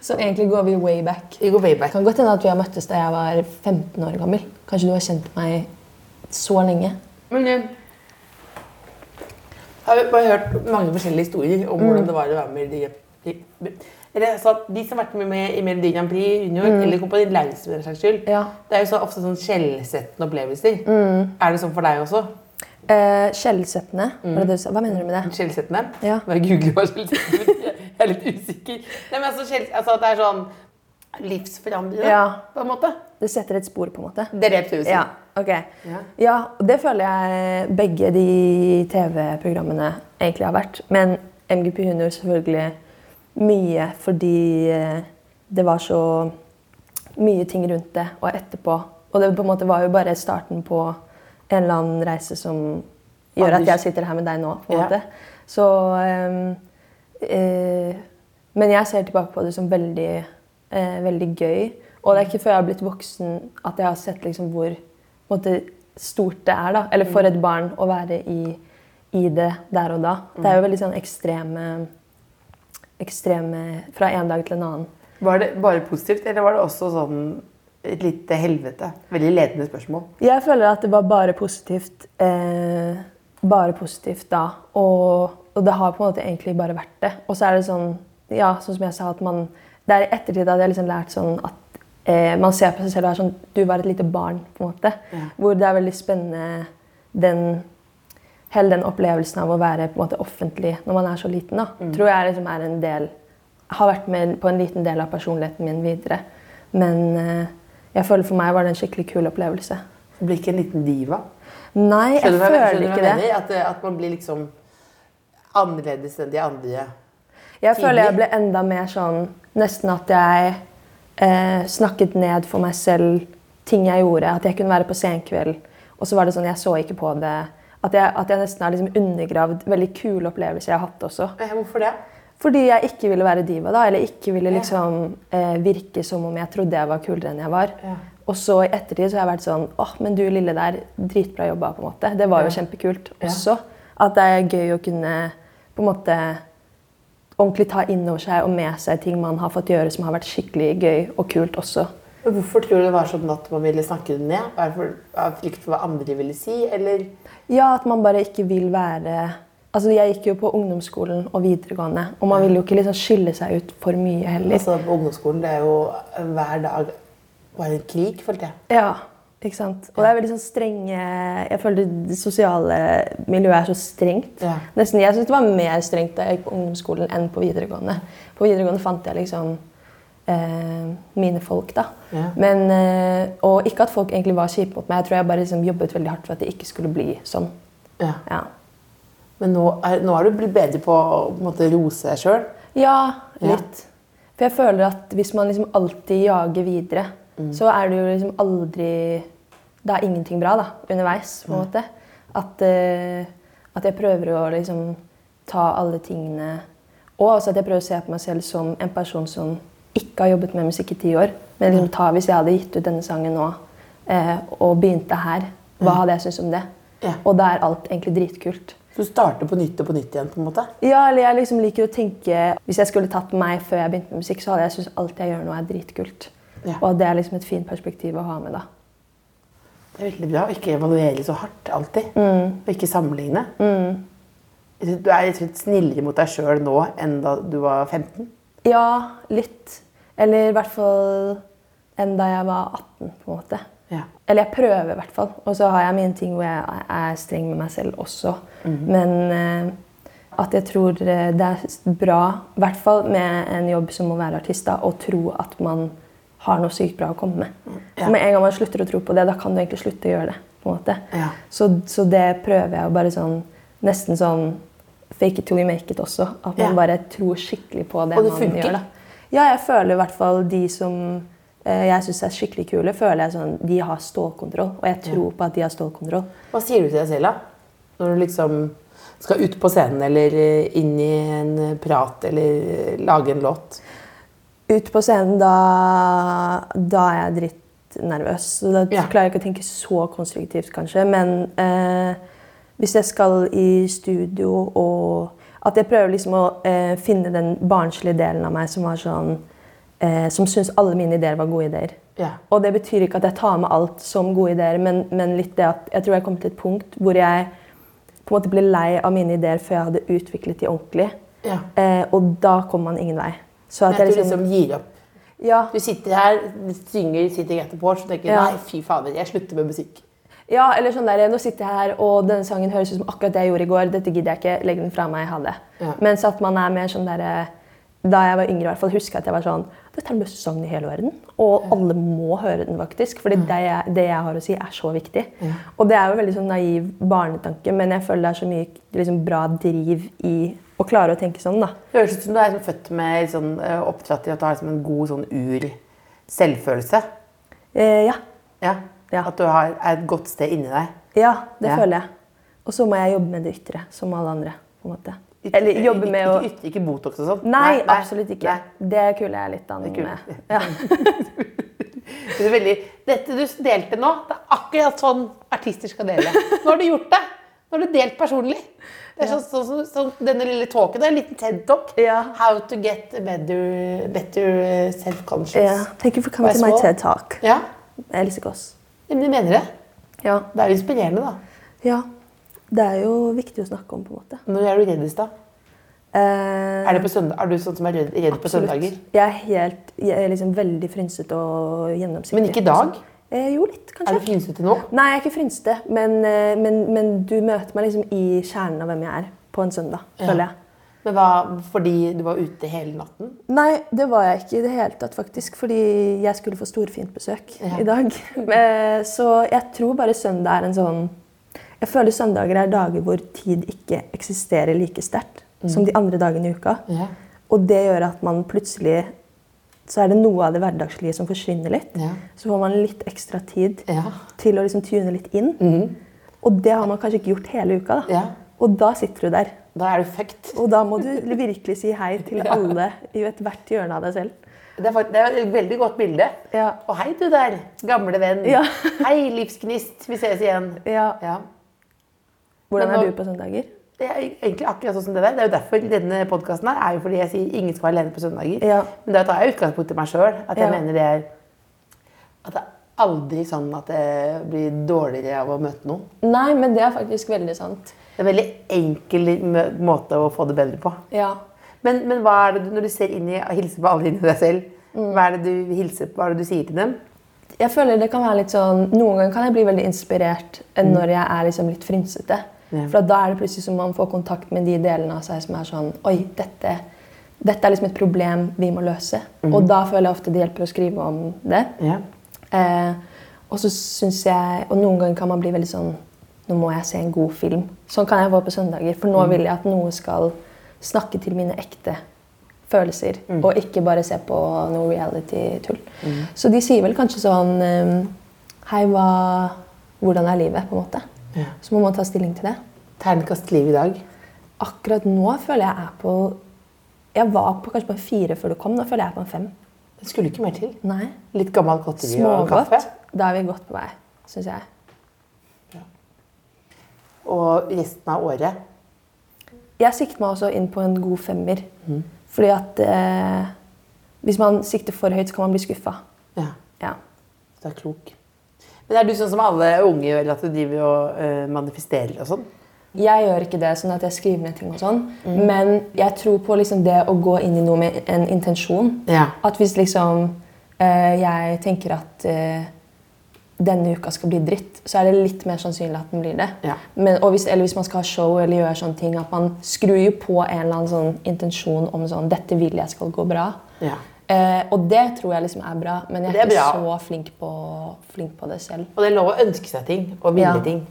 [SPEAKER 4] Så egentlig går vi way back.
[SPEAKER 3] Vi går way back.
[SPEAKER 4] Kan godt hende at vi har møttes da jeg var 15 år gammel. Kanskje du har kjent meg så lenge.
[SPEAKER 3] Men eh, jeg
[SPEAKER 4] Mm.
[SPEAKER 3] har jo bare hørt mange forskjellige historier om hvordan det var å være med i Eller, så at de som har vært med, med i Melodi Grand Prix junior, eller Kompani Lauritzen for den saks skyld,
[SPEAKER 4] Mm. Ja. Mm.
[SPEAKER 3] det er jo så, ofte sånn skjellsettende opplevelser. Er det sånn for deg også?
[SPEAKER 4] Eh, skjellsettende. Var det det du sa? Hva mener du med det?
[SPEAKER 3] Skjellsettende?
[SPEAKER 4] Ja.
[SPEAKER 3] Bare google hva skjellsettende betyr. Jeg er litt usikker. Nei, men altså, skjell, altså at det er sånn livsforandrende,
[SPEAKER 4] Ja.
[SPEAKER 3] på en måte.
[SPEAKER 4] Det setter et spor, på en måte.
[SPEAKER 3] Det er det jeg prøver å si.
[SPEAKER 4] Ja, ok.
[SPEAKER 3] Ja.
[SPEAKER 4] Ja, og det føler jeg begge de TV-programmene egentlig har vært. Men MGP Junior selvfølgelig mye fordi eh, det var så mye ting rundt det, og etterpå. Og det på en måte var jo bare starten på en eller annen reise som gjør at jeg sitter her med deg nå, på en
[SPEAKER 3] Ja.
[SPEAKER 4] måte. Så ehm, eh, Men jeg ser tilbake på det som veldig, eh, veldig gøy. Og det er ikke før jeg har blitt voksen at jeg har sett liksom hvor på en måte, stort det er. da. Eller for et barn å være i, i det der og da. Det er jo veldig sånn ekstreme Ekstreme fra en dag til en annen.
[SPEAKER 3] Var det bare positivt, eller var det også sånn et lite helvete? Veldig ledende spørsmål.
[SPEAKER 4] Jeg føler at det var bare positivt. Eh, bare positivt da. Og, og det har på en måte egentlig bare vært det. Og så er det sånn, ja, sånn som jeg sa, at man Det er i ettertid at jeg liksom lært sånn at eh, man ser på seg selv og er sånn Du var et lite barn, på en måte. Hvor det er veldig spennende den Hele den opplevelsen av å være på en måte offentlig når man er så liten, da, tror jeg liksom er en del Har vært med på en liten del av personligheten min videre. Men eh, jeg føler for meg var det en skikkelig kul opplevelse.
[SPEAKER 3] Du blir ikke en liten diva.
[SPEAKER 4] Nei, jeg
[SPEAKER 3] Skjønner du hva-
[SPEAKER 4] føler
[SPEAKER 3] skjønner du hva
[SPEAKER 4] ikke
[SPEAKER 3] jeg
[SPEAKER 4] det.
[SPEAKER 3] mener? At, at man blir liksom annerledes enn de andre.
[SPEAKER 4] Jeg føler jeg
[SPEAKER 3] tidlig.
[SPEAKER 4] ble enda mer sånn Nesten at jeg eh, snakket ned for meg selv ting jeg gjorde. At jeg kunne være på senkveld, og så var det sånn Jeg så ikke på det. At jeg, at jeg nesten har liksom undergravd veldig kule opplevelser jeg har hatt også.
[SPEAKER 3] Eh, Hvorfor det?
[SPEAKER 4] Fordi jeg ikke ville være diva, da, eller ikke ville liksom eh, virke som om jeg trodde jeg var kulere enn jeg var.
[SPEAKER 3] Ja.
[SPEAKER 4] Og så i ettertid så har jeg vært sånn åh, men du lille der, dritbra jobba, på en måte. Det var jo kjempekult også. At det er gøy å kunne på en måte ordentlig ta inn over seg og med seg ting man har fått gjøre som har vært skikkelig gøy og kult også.
[SPEAKER 3] Men Hvorfor tror du det var sånn at man ville snakke det ned? Var det for- Av frykt for hva andre ville si, eller
[SPEAKER 4] Ja, at man bare ikke vil være Altså, jeg gikk jo på ungdomsskolen og videregående, og man vil jo ikke liksom skille seg ut for mye heller.
[SPEAKER 3] Altså, på ungdomsskolen, det er jo eh, hver dag bare en krig, følte jeg.
[SPEAKER 4] Ja, ikke sant? Og det er veldig sånn strenge Jeg føler det sosiale miljøet er så strengt.
[SPEAKER 3] Ja.
[SPEAKER 4] Nesten, Jeg syns det var mer strengt da jeg gikk på ungdomsskolen enn på videregående. På videregående fant jeg liksom eh, mine folk, da.
[SPEAKER 3] Ja.
[SPEAKER 4] Men, eh, og ikke at folk egentlig var kjipe mot meg. Jeg tror jeg bare liksom jobbet veldig hardt for at det ikke skulle bli sånn.
[SPEAKER 3] Ja.
[SPEAKER 4] Ja,
[SPEAKER 3] Men nå er, nå er du blitt bedre på å på en måte, rose deg sjøl.
[SPEAKER 4] ja
[SPEAKER 3] Ja.
[SPEAKER 4] litt. For jeg føler at hvis man liksom alltid jager videre,
[SPEAKER 3] Mm.
[SPEAKER 4] så er det jo liksom aldri Det er ingenting bra da, underveis, på en måte. At, eh, at jeg prøver å liksom ta alle tingene Og også at jeg prøver å se på meg selv som en person som ikke har jobbet med musikk i ti år. Men liksom ta hvis jeg hadde gitt ut denne sangen nå eh, og begynte her, hva hadde jeg syntes om det?
[SPEAKER 3] Mm. Ja.
[SPEAKER 4] Og da er alt egentlig dritkult.
[SPEAKER 3] Du starter på nytt og på nytt igjen. på en måte.
[SPEAKER 4] Ja, eller jeg liksom liker å tenke Hvis jeg skulle tatt meg før jeg begynte med musikk, så hadde jeg syntes alt jeg gjør nå, er dritkult.
[SPEAKER 3] Ja.
[SPEAKER 4] Og det er liksom et fint perspektiv å ha med, da.
[SPEAKER 3] Det er veldig bra å ikke evaluere så hardt alltid. Og ikke sammenligne. Mm. Jeg synes Du er rett og slett snillere mot deg sjøl nå enn da du var 15.
[SPEAKER 4] Ja, litt. Eller i hvert fall enn da jeg var 18, på en måte.
[SPEAKER 3] Ja.
[SPEAKER 4] Eller jeg prøver, i hvert fall. Og så har jeg mine ting hvor jeg er streng med meg selv også.
[SPEAKER 3] Mhm.
[SPEAKER 4] Men eh, at jeg tror eh, det er bra, i hvert fall med en jobb som å være artist, da, å tro at man har noe sykt bra å komme med.
[SPEAKER 3] Ja.
[SPEAKER 4] For med en gang man slutter å tro på det, da kan du egentlig slutte å gjøre det. på en måte.
[SPEAKER 3] Ja.
[SPEAKER 4] Så, så det prøver jeg å bare sånn Nesten sånn fake it till you make it også. At man
[SPEAKER 3] Ja.
[SPEAKER 4] bare tror skikkelig på det,
[SPEAKER 3] Og det
[SPEAKER 4] man
[SPEAKER 3] funker.
[SPEAKER 4] gjør. da. Ja, jeg føler i hvert fall de som eh, jeg syns er skikkelig kule, føler jeg sånn, de har stålkontroll. Og jeg tror på at de har stålkontroll.
[SPEAKER 3] Hva sier du til deg selv da? Når du liksom skal ut på scenen eller eh, inn i en eh, prat eller eh, lage en låt?
[SPEAKER 4] Ut på scenen, da, da er jeg drittnervøs. Så da
[SPEAKER 3] Ja.
[SPEAKER 4] klarer jeg ikke å tenke så konstruktivt, kanskje. Men eh, hvis jeg skal i studio og At jeg prøver liksom å eh, finne den barnslige delen av meg som var sånn eh, Som syns alle mine ideer var gode ideer.
[SPEAKER 3] Ja.
[SPEAKER 4] Og det betyr ikke at jeg tar med alt som gode ideer, men, men litt det at jeg tror jeg kom til et punkt hvor jeg på en måte ble lei av mine ideer før jeg hadde utviklet de ordentlig.
[SPEAKER 3] Ja.
[SPEAKER 4] Eh, og da kommer man ingen vei. Så at
[SPEAKER 3] At
[SPEAKER 4] jeg
[SPEAKER 3] du
[SPEAKER 4] liksom
[SPEAKER 3] liksom gir opp.
[SPEAKER 4] Ja.
[SPEAKER 3] Du sitter her, synger City Get the Porch og tenker
[SPEAKER 4] Ja.
[SPEAKER 3] nei, fy fader, jeg slutter med musikk.
[SPEAKER 4] Ja, eller sånn der, nå sitter jeg her, og denne sangen høres ut som akkurat det jeg gjorde i går. Dette gidder jeg ikke. Legg den fra meg. Ha det.
[SPEAKER 3] Ja.
[SPEAKER 4] Mens at man er mer sånn der, Da jeg var yngre, i hvert fall, husker jeg at jeg var sånn Dette er den beste sangen i hele verden. Og alle må høre den, faktisk. For det, jeg- det jeg har å si, er så viktig. Og det er jo en veldig sånn naiv barnetanke, men jeg føler det er så mye liksom, bra driv i å klare å tenke sånn, da.
[SPEAKER 3] Det høres ut som du er sånn født med sånn, eh, oppdratt til at du har liksom en god sånn ur-selvfølelse.
[SPEAKER 4] Eh, ja.
[SPEAKER 3] Ja.
[SPEAKER 4] Ja.
[SPEAKER 3] At du har, er et godt sted inni deg.
[SPEAKER 4] Ja, det
[SPEAKER 3] Ja.
[SPEAKER 4] føler jeg. Og så må jeg jobbe med det ytre, som alle andre. på en måte. Eller jobbe med å
[SPEAKER 3] ikke, ikke, ikke Botox og sånn.
[SPEAKER 4] Nei, absolutt ikke.
[SPEAKER 3] nei.
[SPEAKER 4] Det kuler jeg litt an
[SPEAKER 3] Det kuler.
[SPEAKER 4] med. Ja.
[SPEAKER 3] Det er veldig, dette du delte nå, det er akkurat sånn artister skal dele. Nå har du gjort det. Nå har du delt personlig. Det er sånn, sånn, som- sånn, denne lille talken, det er en liten TED-talk.
[SPEAKER 4] Ja.
[SPEAKER 3] How to get better, better self-conscious.
[SPEAKER 4] ja. Thank you for coming to my TED Talk.
[SPEAKER 3] Ja,
[SPEAKER 4] Else Kåss.
[SPEAKER 3] men jeg mener det.
[SPEAKER 4] Ja.
[SPEAKER 3] Det er jo inspirerende, da.
[SPEAKER 4] ja. Det er jo viktig å snakke om, på en måte.
[SPEAKER 3] Når er du reddest, da?
[SPEAKER 4] Eh,
[SPEAKER 3] Er, det på søndag, er du sånn som er redd, redd på
[SPEAKER 4] absolutt.
[SPEAKER 3] søndager?
[SPEAKER 4] Jeg er helt, jeg er liksom veldig frynsete og gjennomsiktig.
[SPEAKER 3] Men ikke i dag?
[SPEAKER 4] Eh, jo, litt, kanskje.
[SPEAKER 3] Er du frynsete nå?
[SPEAKER 4] Nei, jeg er ikke frynsete, men, eh, men, men du møter meg liksom i kjernen av hvem jeg er på en søndag, føler jeg.
[SPEAKER 3] Men hva, fordi du var ute hele natten?
[SPEAKER 4] Nei, det var jeg ikke i det hele tatt, faktisk. Fordi jeg skulle få storfint besøk i dag. Eh, Så jeg tror bare søndag er en sånn Jeg føler søndager er dager hvor tid ikke eksisterer like sterkt som de andre dagene i uka.
[SPEAKER 3] Mm. Ja.
[SPEAKER 4] Og det gjør at man plutselig Så er det noe av det hverdagslige som forsvinner litt.
[SPEAKER 3] Ja.
[SPEAKER 4] Så får man litt ekstra tid
[SPEAKER 3] Ja. Mm.
[SPEAKER 4] til å liksom tune litt inn. Og det har man kanskje ikke gjort hele uka. da.
[SPEAKER 3] Ja.
[SPEAKER 4] Og da sitter du der.
[SPEAKER 3] Da er du fucked.
[SPEAKER 4] Og da må du virkelig si hei til alle i ethvert hjørne av deg selv.
[SPEAKER 3] Det er, fakt- det er et veldig godt bilde.
[SPEAKER 4] Ja.
[SPEAKER 3] Og hei, du der, gamle venn.
[SPEAKER 4] Ja.
[SPEAKER 3] Hei, livsgnist. Vi ses igjen.
[SPEAKER 4] Ja.
[SPEAKER 3] Ja.
[SPEAKER 4] Hvordan
[SPEAKER 3] Men
[SPEAKER 4] er
[SPEAKER 3] nå-
[SPEAKER 4] du på søndager?
[SPEAKER 3] Det er egentlig akkurat sånn som det der. Det er jo derfor denne podkasten her er jo fordi jeg sier ingen skal være alene på søndager.
[SPEAKER 4] Ja.
[SPEAKER 3] Men da tar jeg utgangspunkt i meg sjøl. At jeg
[SPEAKER 4] Ja.
[SPEAKER 3] mener det er At det er aldri sånn at jeg blir dårligere av å møte noen.
[SPEAKER 4] Nei, men det er faktisk veldig sant.
[SPEAKER 3] Det er en veldig enkel mø- måte å få det bedre på.
[SPEAKER 4] Ja.
[SPEAKER 3] Men, men hva er det du, når du ser inn i hilser på alle inni deg selv, hva er det du hilser på, hva er det du sier til dem?
[SPEAKER 4] Jeg føler det kan være litt sånn, Noen ganger kan jeg bli veldig inspirert enn når jeg er liksom litt frynsete.
[SPEAKER 3] Ja.
[SPEAKER 4] For at da er det plutselig som man får kontakt med de delene av seg som er sånn Oi, dette, dette er liksom et problem vi må løse. Og da føler jeg ofte det hjelper å skrive om det.
[SPEAKER 3] Ja.
[SPEAKER 4] Eh, og så synes jeg, og noen ganger kan man bli veldig sånn Nå må jeg se en god film. Sånn kan jeg få på søndager. For
[SPEAKER 3] Mm.
[SPEAKER 4] nå vil jeg at noe skal snakke til mine ekte følelser.
[SPEAKER 3] Mm.
[SPEAKER 4] Og ikke bare se på noe reality-tull. Så de sier vel kanskje sånn eh, Hei, hva Hvordan er livet? på en måte.
[SPEAKER 3] Ja.
[SPEAKER 4] Så må man ta stilling til det.
[SPEAKER 3] Ternekast liv i dag.
[SPEAKER 4] Akkurat nå føler jeg er på Jeg var på kanskje på en fire før du kom. Nå føler jeg er på en fem.
[SPEAKER 3] Det skulle ikke mer til.
[SPEAKER 4] Nei.
[SPEAKER 3] Litt gammel godteri og
[SPEAKER 4] Smågodt.
[SPEAKER 3] kaffe.
[SPEAKER 4] Da er vi godt på vei, syns jeg.
[SPEAKER 3] Og resten av året.
[SPEAKER 4] jeg sikter meg også inn på en god femmer. Fordi at eh, hvis man sikter for høyt, så kan man bli skuffa.
[SPEAKER 3] Ja,
[SPEAKER 4] Ja.
[SPEAKER 3] du er klok. Men er du sånn som alle unge gjør, at du driver og eh, manifesterer og sånn?
[SPEAKER 4] Jeg gjør ikke det sånn at jeg skriver ned ting og sånn, men jeg tror på liksom det å gå inn i noe med en intensjon.
[SPEAKER 3] Ja.
[SPEAKER 4] At hvis liksom eh, jeg tenker at eh, denne uka skal bli dritt, så er det litt mer sannsynlig at den blir det.
[SPEAKER 3] Ja.
[SPEAKER 4] Men, og hvis, eller hvis man skal ha show eller gjøre sånne ting, at man skrur jo på en eller annen sånn intensjon om sånn Dette vil jeg skal gå bra.
[SPEAKER 3] Ja.
[SPEAKER 4] Eh, og det tror jeg liksom er bra, men jeg er,
[SPEAKER 3] Det er
[SPEAKER 4] ikke
[SPEAKER 3] bra.
[SPEAKER 4] så flink på, flink på det selv.
[SPEAKER 3] Og det er lov å ønske seg ting og ville
[SPEAKER 4] Ja.
[SPEAKER 3] ting.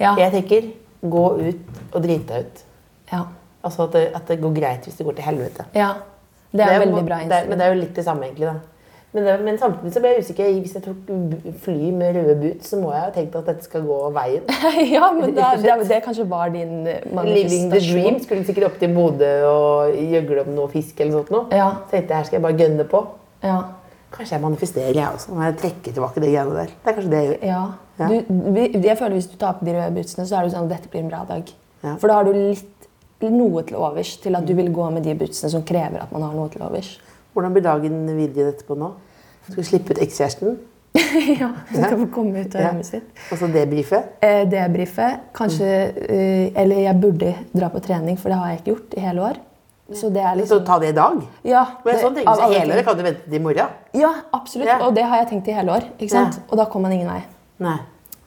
[SPEAKER 4] Ja.
[SPEAKER 3] Jeg tenker gå ut og drite deg ut.
[SPEAKER 4] ja.
[SPEAKER 3] Altså at det, at det går greit hvis det går til helvete.
[SPEAKER 4] ja. Det er,
[SPEAKER 3] jo-
[SPEAKER 4] veldig bra
[SPEAKER 3] det er, men
[SPEAKER 4] innstilling.
[SPEAKER 3] det er jo litt det samme, egentlig. da. Men, det, men samtidig så ble jeg usikker. Hvis jeg tok b- fly med røde boots, så må jeg ha tenkt at dette skal gå veien.
[SPEAKER 4] ja, men
[SPEAKER 3] Rett
[SPEAKER 4] det,
[SPEAKER 3] og
[SPEAKER 4] det,
[SPEAKER 3] slett.
[SPEAKER 4] det kanskje var din eh,
[SPEAKER 3] Living the dream.
[SPEAKER 4] manifestasjon.
[SPEAKER 3] Skulle sikkert opp til Bodø og gjøgle om noe fisk eller noe sånt. nå.
[SPEAKER 4] Ja.
[SPEAKER 3] Tenkte jeg her skal jeg bare gønne på.
[SPEAKER 4] Ja.
[SPEAKER 3] Kanskje jeg manifesterer, jeg også. Når jeg trekker tilbake de greiene der. Det er kanskje det jeg gjør.
[SPEAKER 4] ja.
[SPEAKER 3] Ja.
[SPEAKER 4] Du, vi- jeg føler Hvis du tar på de røde bootsene, så er det sånn dette blir en bra dag.
[SPEAKER 3] Ja.
[SPEAKER 4] For da har du litt noe til overs til at du vil gå med de bootsene som krever at man har noe til overs.
[SPEAKER 3] Hvordan blir dagen videre etterpå nå? Skal vi slippe ut ekskjæresten? Altså
[SPEAKER 4] ja, Du skal få komme ut av
[SPEAKER 3] Ja.
[SPEAKER 4] hjemmet sitt.
[SPEAKER 3] Og så debrife?
[SPEAKER 4] eh, debrife. Kanskje eh, Eller jeg burde dra på trening, for det har jeg ikke gjort i hele år. Så det er
[SPEAKER 3] Så
[SPEAKER 4] liksom
[SPEAKER 3] ta det i dag.
[SPEAKER 4] ja,
[SPEAKER 3] Men sånn
[SPEAKER 4] det-
[SPEAKER 3] tenker
[SPEAKER 4] av alle
[SPEAKER 3] jeg, hele
[SPEAKER 4] ting.
[SPEAKER 3] året kan du vente til i morgen.
[SPEAKER 4] Ja, absolutt.
[SPEAKER 3] Ja.
[SPEAKER 4] Og det har jeg tenkt i hele år. Ikke sant?
[SPEAKER 3] Ja.
[SPEAKER 4] Og da kom man ingen vei.
[SPEAKER 3] Nei.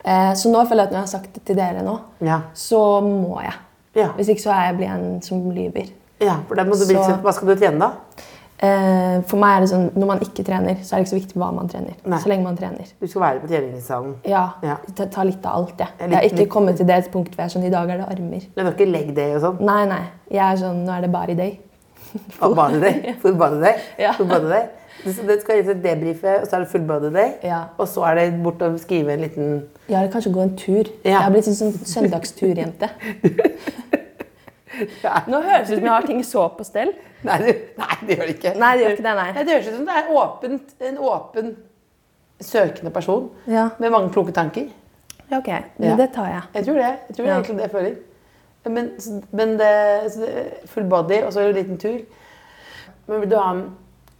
[SPEAKER 4] Eh, så nå føler jeg at når jeg har sagt det til dere nå,
[SPEAKER 3] Ja.
[SPEAKER 4] så må jeg.
[SPEAKER 3] Ja.
[SPEAKER 4] Hvis ikke så er jeg blir jeg en som lyver.
[SPEAKER 3] ja for da må du bli,
[SPEAKER 4] Så-
[SPEAKER 3] Hva skal du trene, da?
[SPEAKER 4] Eh, for meg er det sånn, Når man ikke trener, så er det ikke så viktig hva man trener.
[SPEAKER 3] Nei.
[SPEAKER 4] Så lenge man trener.
[SPEAKER 3] Du skal være på treningssalen.
[SPEAKER 4] Ja,
[SPEAKER 3] Ja.
[SPEAKER 4] Ta, ta litt av alt, jeg.
[SPEAKER 3] En
[SPEAKER 4] Jeg har
[SPEAKER 3] liten-
[SPEAKER 4] ikke kommet til det punktet hvor jeg er sånn I dag er det armer.
[SPEAKER 3] Det var ikke leg day og sånn.
[SPEAKER 4] Nei, nei. Jeg er sånn Nå er det body day.
[SPEAKER 3] Og body day. Full body day.
[SPEAKER 4] Ja.
[SPEAKER 3] Full body day. Det- Så det skal liksom debrife, og så er det full body day.
[SPEAKER 4] Ja.
[SPEAKER 3] Og så er det bort og skrive en liten
[SPEAKER 4] Ja, eller kanskje gå en tur. Jeg
[SPEAKER 3] Ja.
[SPEAKER 4] har blitt en sånn søndagsturjente. Nå høres det ut som jeg har ting så på stell.
[SPEAKER 3] Nei, du- nei det gjør det ikke.
[SPEAKER 4] Nei, det gjør ikke det, nei.
[SPEAKER 3] Nei, det høres ut som det er åpent, en åpen, søkende person
[SPEAKER 4] Ja.
[SPEAKER 3] med mange kloke tanker.
[SPEAKER 4] Ja, ok.
[SPEAKER 3] Ja.
[SPEAKER 4] Men det tar jeg.
[SPEAKER 3] Jeg tror det. Jeg tror det
[SPEAKER 4] Ja.
[SPEAKER 3] er egentlig det jeg føler. Men, så- men det, så det, full body, og så en liten tur. Men vil du ha en,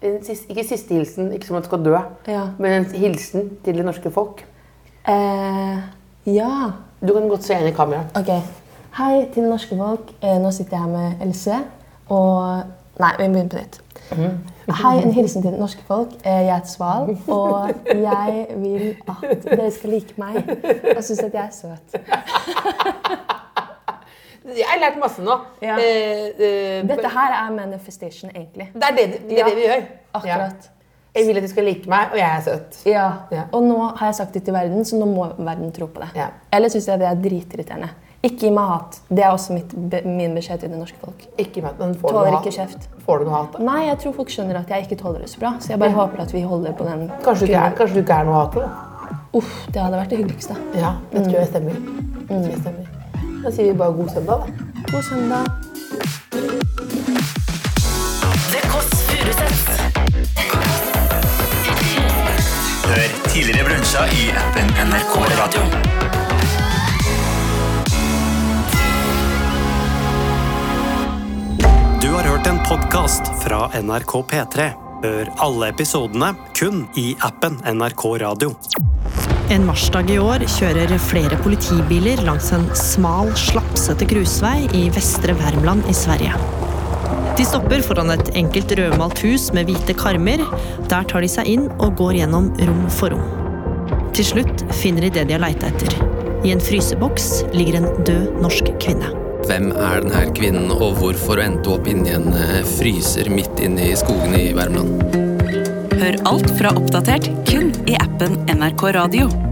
[SPEAKER 3] en siste, ikke siste hilsen, ikke som at du skal dø,
[SPEAKER 4] Ja.
[SPEAKER 3] men en hilsen til det norske folk?
[SPEAKER 4] Eh, ja.
[SPEAKER 3] Du kan godt se inn i kameraet.
[SPEAKER 4] Ok. Hei til det norske folk. Eh, nå sitter jeg her med Else og Nei, vi begynner på nytt. Hei, en hilsen til det norske folk. Eh, jeg heter Sval, og jeg vil at dere skal like meg og synes at jeg er søt.
[SPEAKER 3] Jeg har lært masse nå.
[SPEAKER 4] Ja.
[SPEAKER 3] Eh, eh,
[SPEAKER 4] Dette her er manifestation, egentlig.
[SPEAKER 3] Det er det, det, er
[SPEAKER 4] Ja.
[SPEAKER 3] det vi gjør.
[SPEAKER 4] Akkurat.
[SPEAKER 3] Ja. Jeg vil at de skal like meg, og jeg er søt.
[SPEAKER 4] Ja.
[SPEAKER 3] Ja.
[SPEAKER 4] Og nå har jeg sagt det til verden, så nå må verden tro på det.
[SPEAKER 3] Ja.
[SPEAKER 4] Eller syns jeg det er dritirriterende. Ikke gi meg hat. Det er også mitt, be- min beskjed til det norske folk.
[SPEAKER 3] Ikke meg, men får du
[SPEAKER 4] Tåler
[SPEAKER 3] noe
[SPEAKER 4] ikke
[SPEAKER 3] hat?
[SPEAKER 4] kjeft.
[SPEAKER 3] Får du noe hat? da?
[SPEAKER 4] Nei, jeg tror folk skjønner at jeg ikke tåler det så bra. Så jeg bare håper at vi holder på den.
[SPEAKER 3] Kanskje du ikke er, kanskje du ikke er noe hat? da?
[SPEAKER 4] Uff, det hadde vært det hyggeligste.
[SPEAKER 3] Ja, det tror jeg stemmer.
[SPEAKER 4] Mm.
[SPEAKER 3] Det tror jeg stemmer. Da sier vi bare god søndag, da.
[SPEAKER 4] God søndag.
[SPEAKER 2] Det Kåss Furuseths.
[SPEAKER 5] Hør tidligere brunsja i appen NRK Radio.
[SPEAKER 1] Du har hørt en podkast fra NRK P3. Hør alle episodene kun i appen NRK Radio.
[SPEAKER 6] En marsdag i år kjører flere politibiler langs en smal, slapsete grusvei i Vestre Värmland i Sverige. De stopper foran et enkelt rødmalt hus med hvite karmer. Der tar de seg inn og går gjennom rom for rom. Til slutt finner de det de har leita etter. I en fryseboks ligger en død norsk kvinne.
[SPEAKER 7] Hvem er denne kvinnen, og hvorfor endte hun opp inni en eh, fryser midt inne i skogen i Värmland?
[SPEAKER 8] Hør alt fra oppdatert kun i appen NRK Radio.